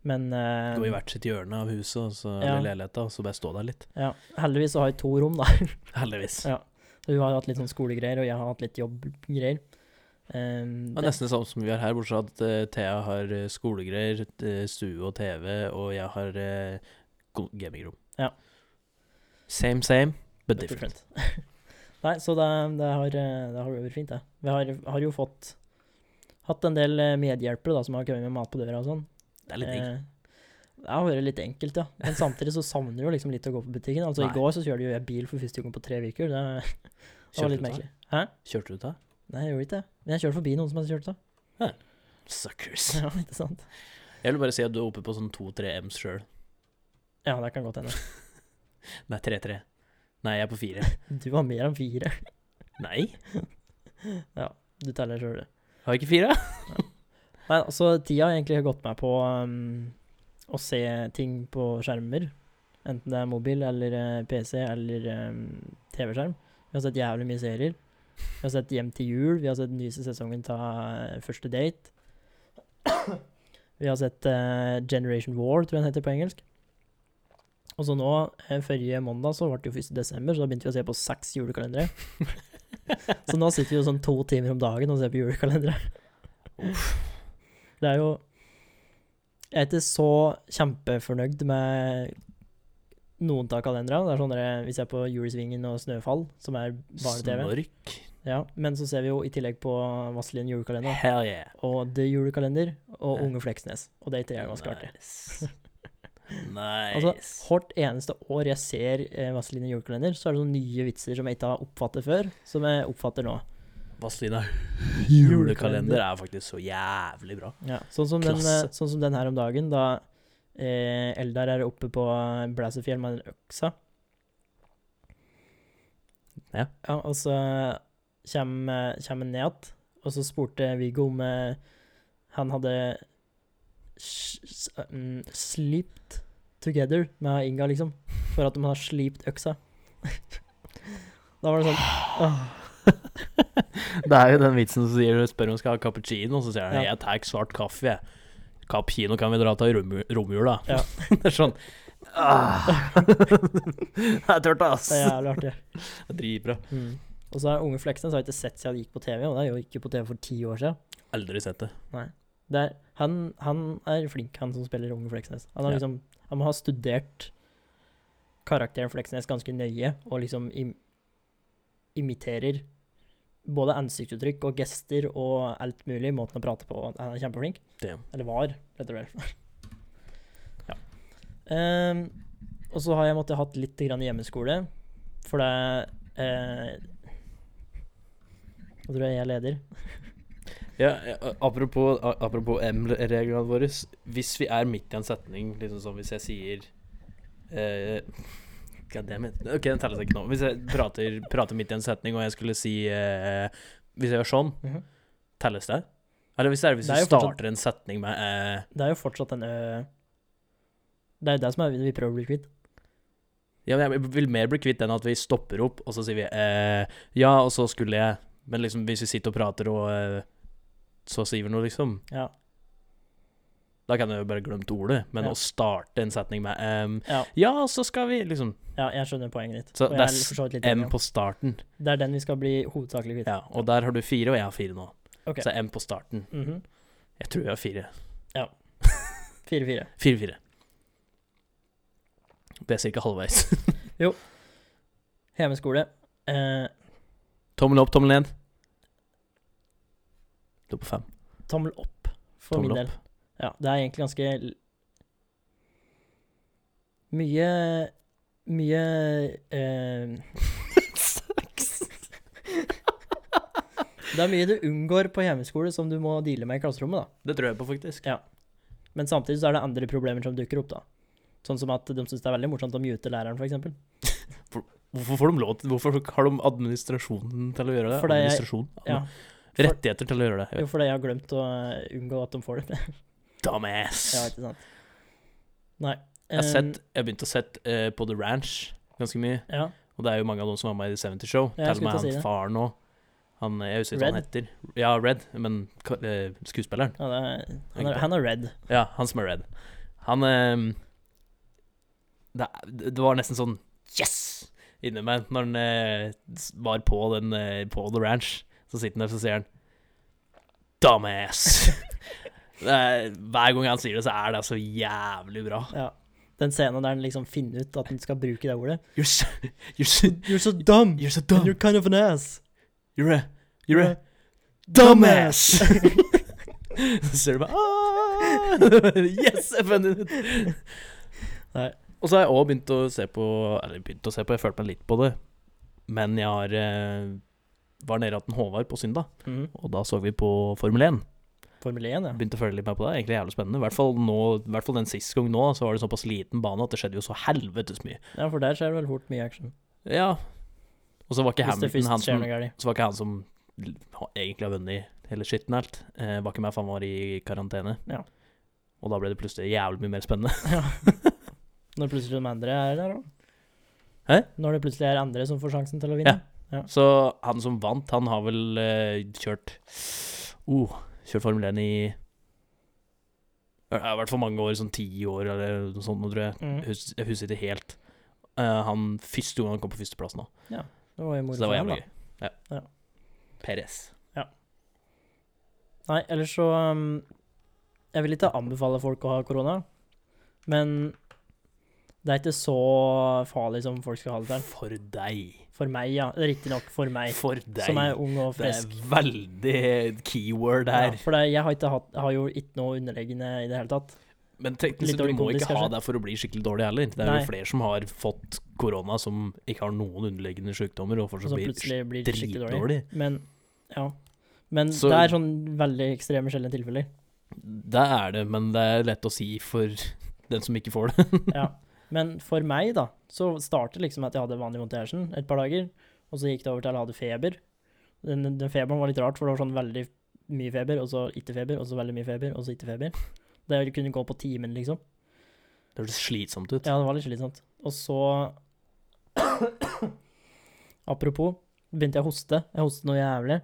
Speaker 2: Men eh,
Speaker 1: Gå i hvert sitt hjørne av huset og så,
Speaker 2: Ja.
Speaker 1: eller leiligheta, og så bare stå der litt.
Speaker 2: ja, heldigvis så har jeg to rom, da.
Speaker 1: Heldigvis.
Speaker 2: Ja. Så hun har hatt litt sånn skolegreier, og jeg har hatt litt jobbgreier. Ehm,
Speaker 1: Det er nesten det samme som vi har her, bortsett fra at eh, Thea har eh, skolegreier, eh, stue og TV, og jeg har eh, go- gamingrom.
Speaker 2: Ja.
Speaker 1: Same, same, but
Speaker 2: det er
Speaker 1: different.
Speaker 2: different. Nei, så det, det, har, eh, det har vært fint, det. Vi har, har jo fått hatt en del eh, medhjelpere da, som har kommet med mat på døra og sånn.
Speaker 1: Det er litt digg.
Speaker 2: Eh, Det har vært litt enkelt, ja. Men samtidig så savner du jo liksom litt å gå på butikken. Altså,
Speaker 1: Nei.
Speaker 2: I går så kjørte jo jeg bil for første gang på tre uker. Det, det var
Speaker 1: Kjørte
Speaker 2: litt
Speaker 1: du
Speaker 2: merkelig.
Speaker 1: ta?
Speaker 2: Hæ?
Speaker 1: Kjørte du ta?
Speaker 2: Nei, jeg gjorde ikke det. Men jeg kjørte forbi noen som hadde kjørt, da.
Speaker 1: Suckers.
Speaker 2: Ja, ikke sant?
Speaker 1: Jeg vil bare si at du er oppe på sånn 2-3 M's sjøl.
Speaker 2: Ja, det kan godt hende.
Speaker 1: Nei, 3-3. Nei, jeg er på 4.
Speaker 2: Du var mer enn fire.
Speaker 1: Nei,
Speaker 2: Du teller sjøl, du.
Speaker 1: har jeg ikke 4?
Speaker 2: Nei, altså tida har egentlig gått meg på um, å se ting på skjermer. Enten det er mobil eller eh, PC eller um, TV-skjerm. Vi har sett jævlig mye serier. Vi har sett Hjem til jul, vi har sett nyeste sesongen ta eh, Første date. Vi har sett eh, Generation War, tror jeg den heter på engelsk. Og så nå, eh, forrige måndag så ble det jo 1. desember, så da begynte vi å se på seks julekalendere. så nå sitter vi jo sånn to timer om dagen og ser på julekalendere. Det er jo Jeg er ikke så kjempefornøyd med noen av kalenderne. Det er sånn dere- Vi ser på Julesvingen og Snøfall, som er barne-TV.
Speaker 1: Snork.
Speaker 2: Ja, men så ser vi jo i tillegg på Vazelin julekalender
Speaker 1: Hell yeah.
Speaker 2: og The Julekalender og
Speaker 1: Ja.
Speaker 2: Unge Fleksnes. Og de tre er ganske artige.
Speaker 1: nice. nice.
Speaker 2: Altså, Hvert eneste år jeg ser eh, Vazelin julekalender, så er det sånne nye vitser som jeg ikke har oppfattet før, som jeg oppfatter nå.
Speaker 1: Vazelina
Speaker 2: Julekalender.
Speaker 1: julekalender er faktisk så jævlig bra.
Speaker 2: Ja, sånn, som den,
Speaker 1: Klasse.
Speaker 2: eh, sånn som den her om dagen, da eh, Eldar er oppe på Blæsefjell med en øksa.
Speaker 1: Ja.
Speaker 2: og så kommer kommer han ned igjen, og så spurte Viggo om eh, han hadde s- s- mm, sleeped together med Inga, liksom. For at de har sleeped øksa. da var det sånn åh,
Speaker 1: Det er jo den vitsen som sier spør om skal ha cappuccino, og så sier han
Speaker 2: Ja.
Speaker 1: jeg tar svart kaffe. jeg». Cappuccino kan vi dra til romju- romjula.
Speaker 2: Ja.
Speaker 1: det er sånn ah. Det er tørt, ass.
Speaker 2: Det er jævlig artig.
Speaker 1: Det er Dritbra.
Speaker 2: Mm. Og så er Unge Fleksnes har jeg ikke sett siden det gikk på TV, og det er jo ikke på TV for ti år siden.
Speaker 1: Aldri sett det.
Speaker 2: Det er, han, han er flink, han som spiller Unge Fleksnes. Han, har
Speaker 1: Ja.
Speaker 2: liksom, han må ha studert karakteren Fleksnes ganske nøye, og liksom im imiterer både ansiktsuttrykk og gester og alt mulig, måten å prate på. Han er kjempeflink.
Speaker 1: Damn.
Speaker 2: Eller var, rett og slett. ja. Ehm, og så har jeg måttet hatt litt grann hjemmeskole, for det eh, Nå tror jeg jeg er leder.
Speaker 1: Ja, eh, apropos, a- apropos M-reglene våre. Hvis vi er midt i en setning, liksom som hvis jeg sier eh, God damn it. Ok, den telles ikke nå. Hvis jeg prater, prater midt i en setning, og jeg skulle si eh, Hvis jeg gjør sånn,
Speaker 2: Mhm.
Speaker 1: telles det? Eller hvis det er hvis
Speaker 2: Det er
Speaker 1: du
Speaker 2: jo fortsatt-
Speaker 1: starter en setning med eh,
Speaker 2: Det er jo fortsatt en ø... Det er jo det som er vi prøver å bli kvitt.
Speaker 1: Ja, men jeg vil mer bli kvitt den at vi stopper opp, og så sier vi eh, Ja, og så skulle jeg Men liksom, hvis vi sitter og prater, og eh, så sier vi noe, liksom
Speaker 2: Ja.
Speaker 1: Da kan jeg jo bare glemt ordet. Men
Speaker 2: Ja.
Speaker 1: å starte en setning med ehm,
Speaker 2: Ja.
Speaker 1: Ja, så skal vi liksom
Speaker 2: ja, jeg skjønner poenget ditt.
Speaker 1: Så
Speaker 2: og
Speaker 1: det er
Speaker 2: jeg for så vidt litt
Speaker 1: M
Speaker 2: enig om.
Speaker 1: på starten.
Speaker 2: Det er den vi skal bli hovedsakelig kvitt.
Speaker 1: Ja, og der har du fire, og jeg har fire nå.
Speaker 2: Ok.
Speaker 1: Så M på starten.
Speaker 2: Mhm.
Speaker 1: Jeg tror jeg har fire.
Speaker 2: 4-4.
Speaker 1: Fire-fire. Det er cirka halvveis.
Speaker 2: Hjemmeskole. Eh,
Speaker 1: Tommel opp, tommel ned. Du er på fem.
Speaker 2: tommel opp, for
Speaker 1: Tommel
Speaker 2: min del. Ja, det er egentlig ganske l- Mye Mye eh, Det er mye du unngår på hjemmeskole som du må deale med i klasserommet, da.
Speaker 1: Det tror jeg på, faktisk.
Speaker 2: Men samtidig så er det andre problemer som dukker opp, da. Sånn som at de syns det er veldig morsomt å mute læreren, f.eks. eksempel
Speaker 1: Hvorfor får de lov til Hvorfor har de administrasjonen til å gjøre det?
Speaker 2: Fordi jeg-
Speaker 1: Administrasjon?
Speaker 2: Ja,
Speaker 1: Rettigheter til å gjøre det. Jeg
Speaker 2: jo, fordi jeg har glemt å eh, unngå at de får det.
Speaker 1: vet. Dumbass!
Speaker 2: ja, ikke sant. Nei.
Speaker 1: Jeg har
Speaker 2: eh,
Speaker 1: sett, jeg har begynt å sett eh, på The Ranch ganske mye.
Speaker 2: Ja.
Speaker 1: Og det er jo mange av dem som var med i The 70 Show.
Speaker 2: Ja, jeg
Speaker 1: Til og med
Speaker 2: skulle til å
Speaker 1: han
Speaker 2: si det.
Speaker 1: faren òg. Han, eh, jeg husker ikke hva han heter. Ja, Red, men ka- eh, skuespilleren.
Speaker 2: Han er, han er, han er red.
Speaker 1: Ja, han som er Red. Han eh, det, det var nesten sånn Yes! inni meg når han eh, s- var på, den, eh, på The Ranch. Så sitter han der, så sier han Dumbass! Det er- Hver gang han sier det, så er det så jævlig bra.
Speaker 2: Ja. Den scenen der han liksom finner ut at han skal bruke det ordet.
Speaker 1: You're so, you're so,
Speaker 2: You're so dumb!
Speaker 1: you're so
Speaker 2: And
Speaker 1: dumb.
Speaker 2: you're kind of an ass!
Speaker 1: You're a, you're a dumbass! Så ser du bare «Ah!» Yes, jeg fant det ut!
Speaker 2: Nei.
Speaker 1: Og så har jeg òg begynt å se på Eller begynt å se på, jeg følte meg litt på det. Men jeg har eh, var nede hos Håvard på søndag,
Speaker 2: Mhm.
Speaker 1: og da så vi på Formel 1.
Speaker 2: Formel 1, ja.
Speaker 1: Begynte å følge litt med på det. Egentlig jævlig spennende. I hvert fall, nå, i hvert fall den siste gangen nå, så var det såpass liten bane at det skjedde jo så helvetes mye.
Speaker 2: ja. For der skjer det vel fort mye action.
Speaker 1: Ja. Og så var ikke
Speaker 2: Hvis det
Speaker 1: Hamilton han
Speaker 2: først skjer
Speaker 1: som
Speaker 2: noe galt.
Speaker 1: Så var ikke han som l- ha- egentlig har vunnet hele skitten helt. Eh, var ikke med, for han var i karantene.
Speaker 2: Ja.
Speaker 1: Og da ble det plutselig jævlig mye mer spennende.
Speaker 2: Når plutselig de andre er der, da.
Speaker 1: Hæ?
Speaker 2: Når det plutselig er andre som får sjansen til å vinne. Ja.
Speaker 1: Så han som vant, han har vel eh, kjørt oh, Kjørt Formel 1 i det har vært for mange år, sånn ti år eller noe sånt, nå, tror jeg.
Speaker 2: Mhm.
Speaker 1: Hus, jeg husker ikke helt. Eh, han første gang han kom på førsteplass nå.
Speaker 2: Det var jo moro
Speaker 1: Så det var
Speaker 2: for ham,
Speaker 1: jævlig
Speaker 2: da.
Speaker 1: gøy. Ja.
Speaker 2: Ja.
Speaker 1: Perez.
Speaker 2: Nei, ellers så um, Jeg vil ikke anbefale folk å ha korona, men det er ikke så farlig som folk skal ha det til.
Speaker 1: For deg.
Speaker 2: For meg, ja. Riktignok for meg,
Speaker 1: For deg.
Speaker 2: som er ung og frisk.
Speaker 1: Det er veldig keyword
Speaker 2: Ja,
Speaker 1: her.
Speaker 2: for det, jeg har, ikke hatt, har jo ikke noe underliggende i det hele tatt.
Speaker 1: Men teknisk
Speaker 2: Litt
Speaker 1: sett, du
Speaker 2: dårlig
Speaker 1: må
Speaker 2: kondis,
Speaker 1: ikke ha
Speaker 2: kanskje?
Speaker 1: det for å bli skikkelig dårlig heller. Det er
Speaker 2: Nei.
Speaker 1: jo flere som har fått korona som ikke har noen underliggende sykdommer, og
Speaker 2: Og
Speaker 1: fortsatt
Speaker 2: så
Speaker 1: blir
Speaker 2: plutselig blir det skikkelig dårlig.
Speaker 1: dritdårlig.
Speaker 2: Men ja. Men
Speaker 1: Så-
Speaker 2: det er sånn veldig ekstreme, sjeldne tilfeller.
Speaker 1: Det er det, men det er lett å si for den som ikke får det.
Speaker 2: Ja. Men for meg, da, så startet liksom at jeg hadde vanlig vondt i halsen et par dager. Og så gikk det over til at jeg hadde feber. Den, den feberen var litt rart, for det var sånn veldig mye feber, og så ikke feber, og så veldig mye feber, og så ikke feber. Det kunne gå på timen, liksom.
Speaker 1: Det høres slitsomt ut.
Speaker 2: Ja, det var litt slitsomt. Og så Apropos, begynte jeg å hoste. Jeg hostet noe jævlig.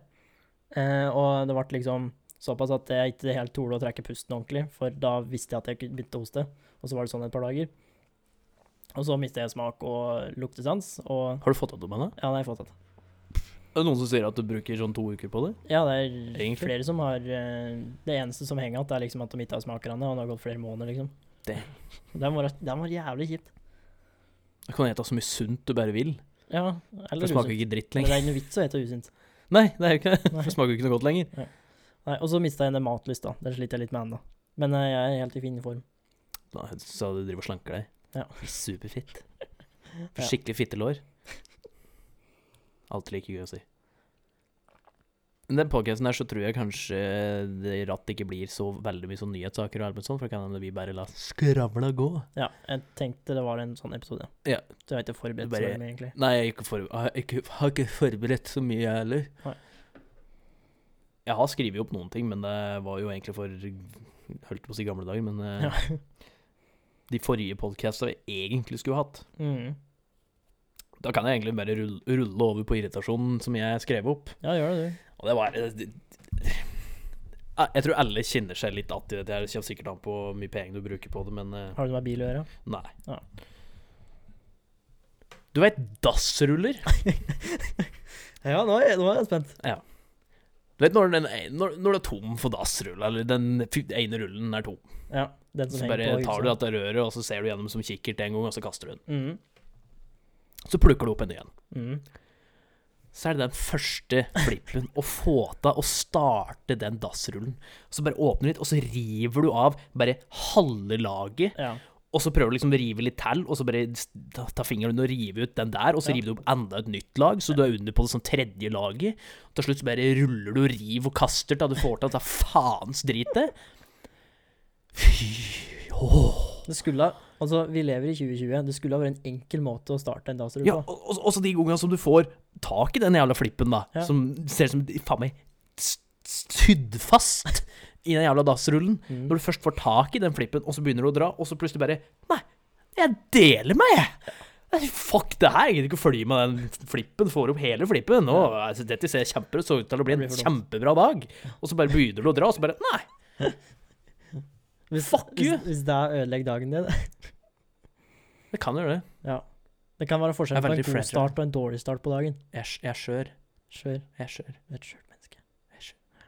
Speaker 2: Eh, og det ble liksom såpass at jeg ikke helt torde å trekke pusten ordentlig, for da visste jeg at jeg ikke begynte å hoste. Og så var det sånn et par dager. Og så mistet jeg smak og luktesans, og
Speaker 1: Har du fått opp det med det?
Speaker 2: ja, det har jeg fått tatt.
Speaker 1: Er det noen som sier at du bruker sånn to uker på det?
Speaker 2: Ja, det er
Speaker 1: Egentlig?
Speaker 2: flere som har eh, Det eneste som henger igjen, er liksom at de ikke har smaker ennå, og det har gått flere måneder, liksom.
Speaker 1: Damn.
Speaker 2: Den var, den var jævlig kjipt.
Speaker 1: Du kan ete så mye sunt du bare vil.
Speaker 2: Ja,
Speaker 1: For
Speaker 2: eller
Speaker 1: det smaker
Speaker 2: usunt.
Speaker 1: jo ikke dritt
Speaker 2: Men det
Speaker 1: lenger.
Speaker 2: er ikke noe vits å hete usunt.
Speaker 1: Nei, det er jo ikke det.
Speaker 2: Nei.
Speaker 1: For det smaker jo ikke noe godt lenger.
Speaker 2: Nei, og så mista jeg en matlyst, da. Den sliter jeg litt med ennå. Men eh, jeg er helt i fin form.
Speaker 1: Da sa du driver og slanker deg.
Speaker 2: Ja.
Speaker 1: Superfitt.
Speaker 2: Ja.
Speaker 1: Skikkelig fittelår. Alltid like gøy å si. Men den podcasten her så tror jeg kanskje det ratt ikke blir så veldig mye sånn nyhetssaker og arbeid sånn, for det kan hende vi bare lar skravla gå.
Speaker 2: Ja, jeg tenkte det var en sånn episode.
Speaker 1: Ja.
Speaker 2: Så jeg har ikke forberedt
Speaker 1: Du bare-
Speaker 2: så mye, egentlig.
Speaker 1: Nei, jeg, er ikke for, jeg har ikke- har ikke forberedt så mye, jeg heller.
Speaker 2: Nei.
Speaker 1: Jeg har skrevet opp noen ting, men det var jo egentlig for Holdt på å si gamle dager, men eh, de forrige podkastene vi egentlig skulle hatt.
Speaker 2: Mm.
Speaker 1: Da kan jeg egentlig bare rulle, rulle over på irritasjonen som jeg skrev opp.
Speaker 2: Ja, gjør det, du.
Speaker 1: Og det var det- det- Ah, Jeg tror alle kjenner seg litt att i dette. her. Det kommer sikkert an på hvor mye penger du bruker på det, men eh,
Speaker 2: Har du noe med bil å gjøre?
Speaker 1: nei.
Speaker 2: Ja.
Speaker 1: Du veit dassruller?
Speaker 2: Ja, nå er, nå er jeg spent.
Speaker 1: Du vet når, den, e, når, når du er tom for dassrull, eller den fy- ene rullen er tom,
Speaker 2: Ja, den som
Speaker 1: så
Speaker 2: henger
Speaker 1: bare
Speaker 2: på
Speaker 1: tar
Speaker 2: hylsa.
Speaker 1: du dette røret, og så ser du gjennom som kikkert en gang, og så kaster du den.
Speaker 2: Mm.
Speaker 1: Så plukker du opp en ny en.
Speaker 2: Mm.
Speaker 1: Så er det den første flippen å få til å starte den dassrullen. Så bare åpner du litt, og så river du av bare halve laget.
Speaker 2: Ja.
Speaker 1: Og så prøver du liksom å rive litt til, og så bare s- ta, ta fingeren og rive ut den der, og så
Speaker 2: Ja.
Speaker 1: river du opp enda et nytt lag, så du er under på det sånn tredje laget. Til slutt så bare ruller du og river og kaster til du får til dette faens dritet. Fy åh.
Speaker 2: Det skulle Altså, vi lever i 2020. Det skulle ha vært en enkel måte å starte en dagsrevy
Speaker 1: Ja, og
Speaker 2: på.
Speaker 1: og- og så de gangene som du får tak i den jævla flippen, da,
Speaker 2: Ja.
Speaker 1: som ser ut som de- faen meg s- sydd fast i den jævla dassrullen.
Speaker 2: Mm.
Speaker 1: Når du først får tak i den flippen, og så begynner du å dra, og så plutselig bare Nei, jeg deler meg, jeg! Nei, Fuck det her, jeg gidder ikke å følge med den flippen. Får opp hele flippen. Nå, altså, dette ser kjempebra så ut til å bli en
Speaker 2: Det blir for dumt.
Speaker 1: kjempebra dag. Og så bare begynner du å dra, og så bare Nei!
Speaker 2: Hvis,
Speaker 1: fuck you!
Speaker 2: Hvis, hvis det ødelegger dagen din
Speaker 1: Det kan gjøre det.
Speaker 2: Ja. Det kan være forskjellen
Speaker 1: Det er
Speaker 2: på en
Speaker 1: veldig
Speaker 2: god
Speaker 1: fragile.
Speaker 2: start og en dårlig start på dagen.
Speaker 1: Jeg er- jeg er skjør.
Speaker 2: Skjør.
Speaker 1: Jeg er skjør.
Speaker 2: Du er Et skjørt menneske.
Speaker 1: Jeg er skjør.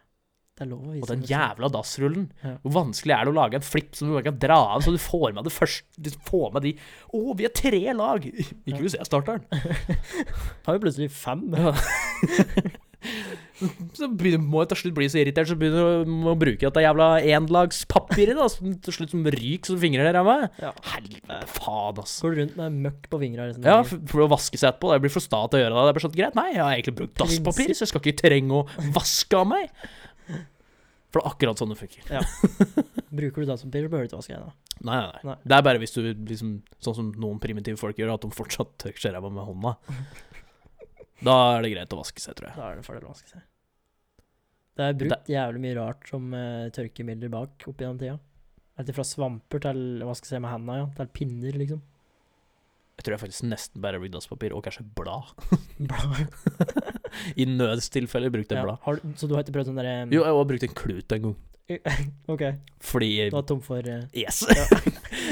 Speaker 2: Det er lov å vise
Speaker 1: Og den
Speaker 2: emosjon.
Speaker 1: jævla dassrullen.
Speaker 2: Ja.
Speaker 1: Hvor vanskelig er det å lage en flip som du bare kan dra av, så du får med det først Du får med de Å, vi er tre lag! Ikke hvis jeg starter den.
Speaker 2: Har jo plutselig fem.
Speaker 1: Så begynner, må jeg til slutt bli så irritert, så begynner du å bruke dette jævla énlagspapiret, da. Som til slutt som ryker som fingrene der av meg.
Speaker 2: Ja.
Speaker 1: Helvete faen, ass.
Speaker 2: Går du rundt med møkk på fingra? liksom, resten av
Speaker 1: Ja,
Speaker 2: dagen?
Speaker 1: for, for å vaske seg etterpå. Jeg blir for sta til å gjøre det. Det er bare sånn greit. Nei, jeg har egentlig brukt dasspapir, så jeg skal ikke trenge å vaske av meg. For det er akkurat sånn det funker.
Speaker 2: Bruker du dasspapir, så behøver du ikke vaske ennå.
Speaker 1: Nei, nei, nei.
Speaker 2: Nei.
Speaker 1: Det er bare hvis du liksom Sånn som noen primitive folk gjør, at de fortsatt tørker seg ræva med hånda. Da er det greit å vaske seg, tror jeg.
Speaker 2: Da er det fordel å vaske seg. Det er brukt jævlig mye rart som eh, tørkemidler bak opp gjennom tida. Alt fra svamper til å vaske seg med henda, ja. Til pinner, liksom.
Speaker 1: Jeg tror jeg faktisk nesten bare bruker dasspapir, og kanskje blad.
Speaker 2: Bla.
Speaker 1: I nødstilfelle brukte jeg
Speaker 2: Ja,
Speaker 1: blad.
Speaker 2: har du- Så du har ikke prøvd sånn derre
Speaker 1: Jo, jeg har brukt en klut en gang.
Speaker 2: OK,
Speaker 1: Fordi
Speaker 2: du var tom for eh,
Speaker 1: Yes!
Speaker 2: Ja.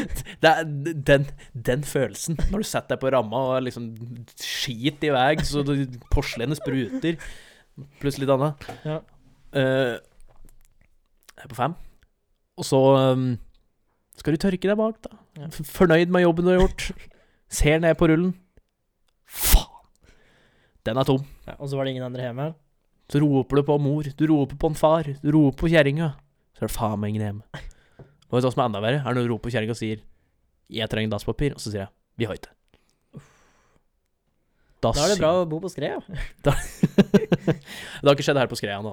Speaker 1: Det er den, den følelsen når du setter deg på ramma og er liksom skit i vei, så du- porselenet spruter. Pluss litt annet.
Speaker 2: Ja.
Speaker 1: Eh, jeg er på fem. Og så um, skal du tørke deg bak, da.
Speaker 2: Ja.
Speaker 1: F- Fornøyd med jobben du har gjort. Ser ned på rullen. Faen! Den er tom.
Speaker 2: ja, Og så var det ingen andre hjemme? her.
Speaker 1: Så roper du på mor, du roper på en far, du roper på kjerringa. Så er det faen meg ingen hjemme. Og vet du hva som er enda verre? Er når du roper på kjerringa og sier 'Jeg trenger dasspapir', og så sier jeg 'Vi har ikke'. Da
Speaker 2: Da er det bra
Speaker 1: synger-
Speaker 2: å bo på skred, ja.
Speaker 1: Det har ikke skjedd her på Skreia nå.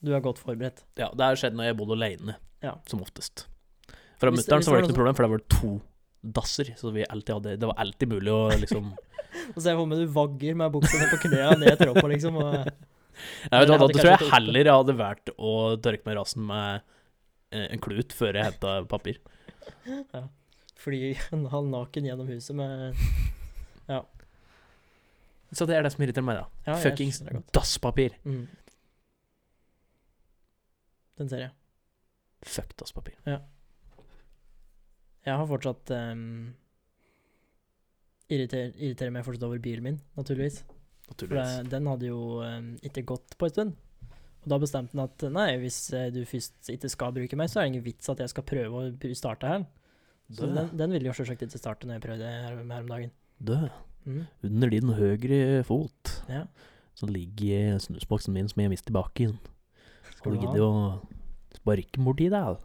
Speaker 2: Du er godt forberedt.
Speaker 1: Ja, det har skjedd når jeg bodde alene,
Speaker 2: Ja.
Speaker 1: som oftest. Fra
Speaker 2: Hvis
Speaker 1: mutter'n
Speaker 2: det- hvis
Speaker 1: så var
Speaker 2: det
Speaker 1: det ikke noe
Speaker 2: var
Speaker 1: problem, for der var det to dasser. Så vi alltid hadde, det var alltid mulig å liksom
Speaker 2: Og så er jeg for meg du vagger med buksa ned på knærne ned tråppa, liksom. Og,
Speaker 1: Nei, vet du hva,
Speaker 2: Dere
Speaker 1: Da tror
Speaker 2: hadde kanskje
Speaker 1: jeg
Speaker 2: ikke
Speaker 1: heller jeg hadde valgt å tørke meg i rassen med eh, en klut før jeg henta papir.
Speaker 2: eh, fly en halv naken gjennom huset med
Speaker 1: Så det er det som irriterer meg, da.
Speaker 2: ja, jeg
Speaker 1: Fuckings
Speaker 2: skjønner det godt.
Speaker 1: dasspapir.
Speaker 2: Mm. Den ser jeg.
Speaker 1: Fuck dasspapir.
Speaker 2: Jeg har fortsatt um, irriter, Irriterer meg fortsatt over bilen min, naturligvis. For
Speaker 1: Naturligvis.
Speaker 2: det, den hadde jo em, ikke gått på en stund. Og da bestemte han at nei, hvis eh, du først ikke skal bruke meg, så er det ingen vits at jeg skal prøve å br- starte her. Så
Speaker 1: Dø.
Speaker 2: den, den ville jo selvsagt ikke starte når jeg prøvde her, her om dagen.
Speaker 1: Dø.
Speaker 2: Mm.
Speaker 1: Under din høyre fot
Speaker 2: Ja.
Speaker 1: så ligger snusboksen min som jeg mistet i sånn. bakken. Har du
Speaker 2: ha?
Speaker 1: giddet å sparke borti deg?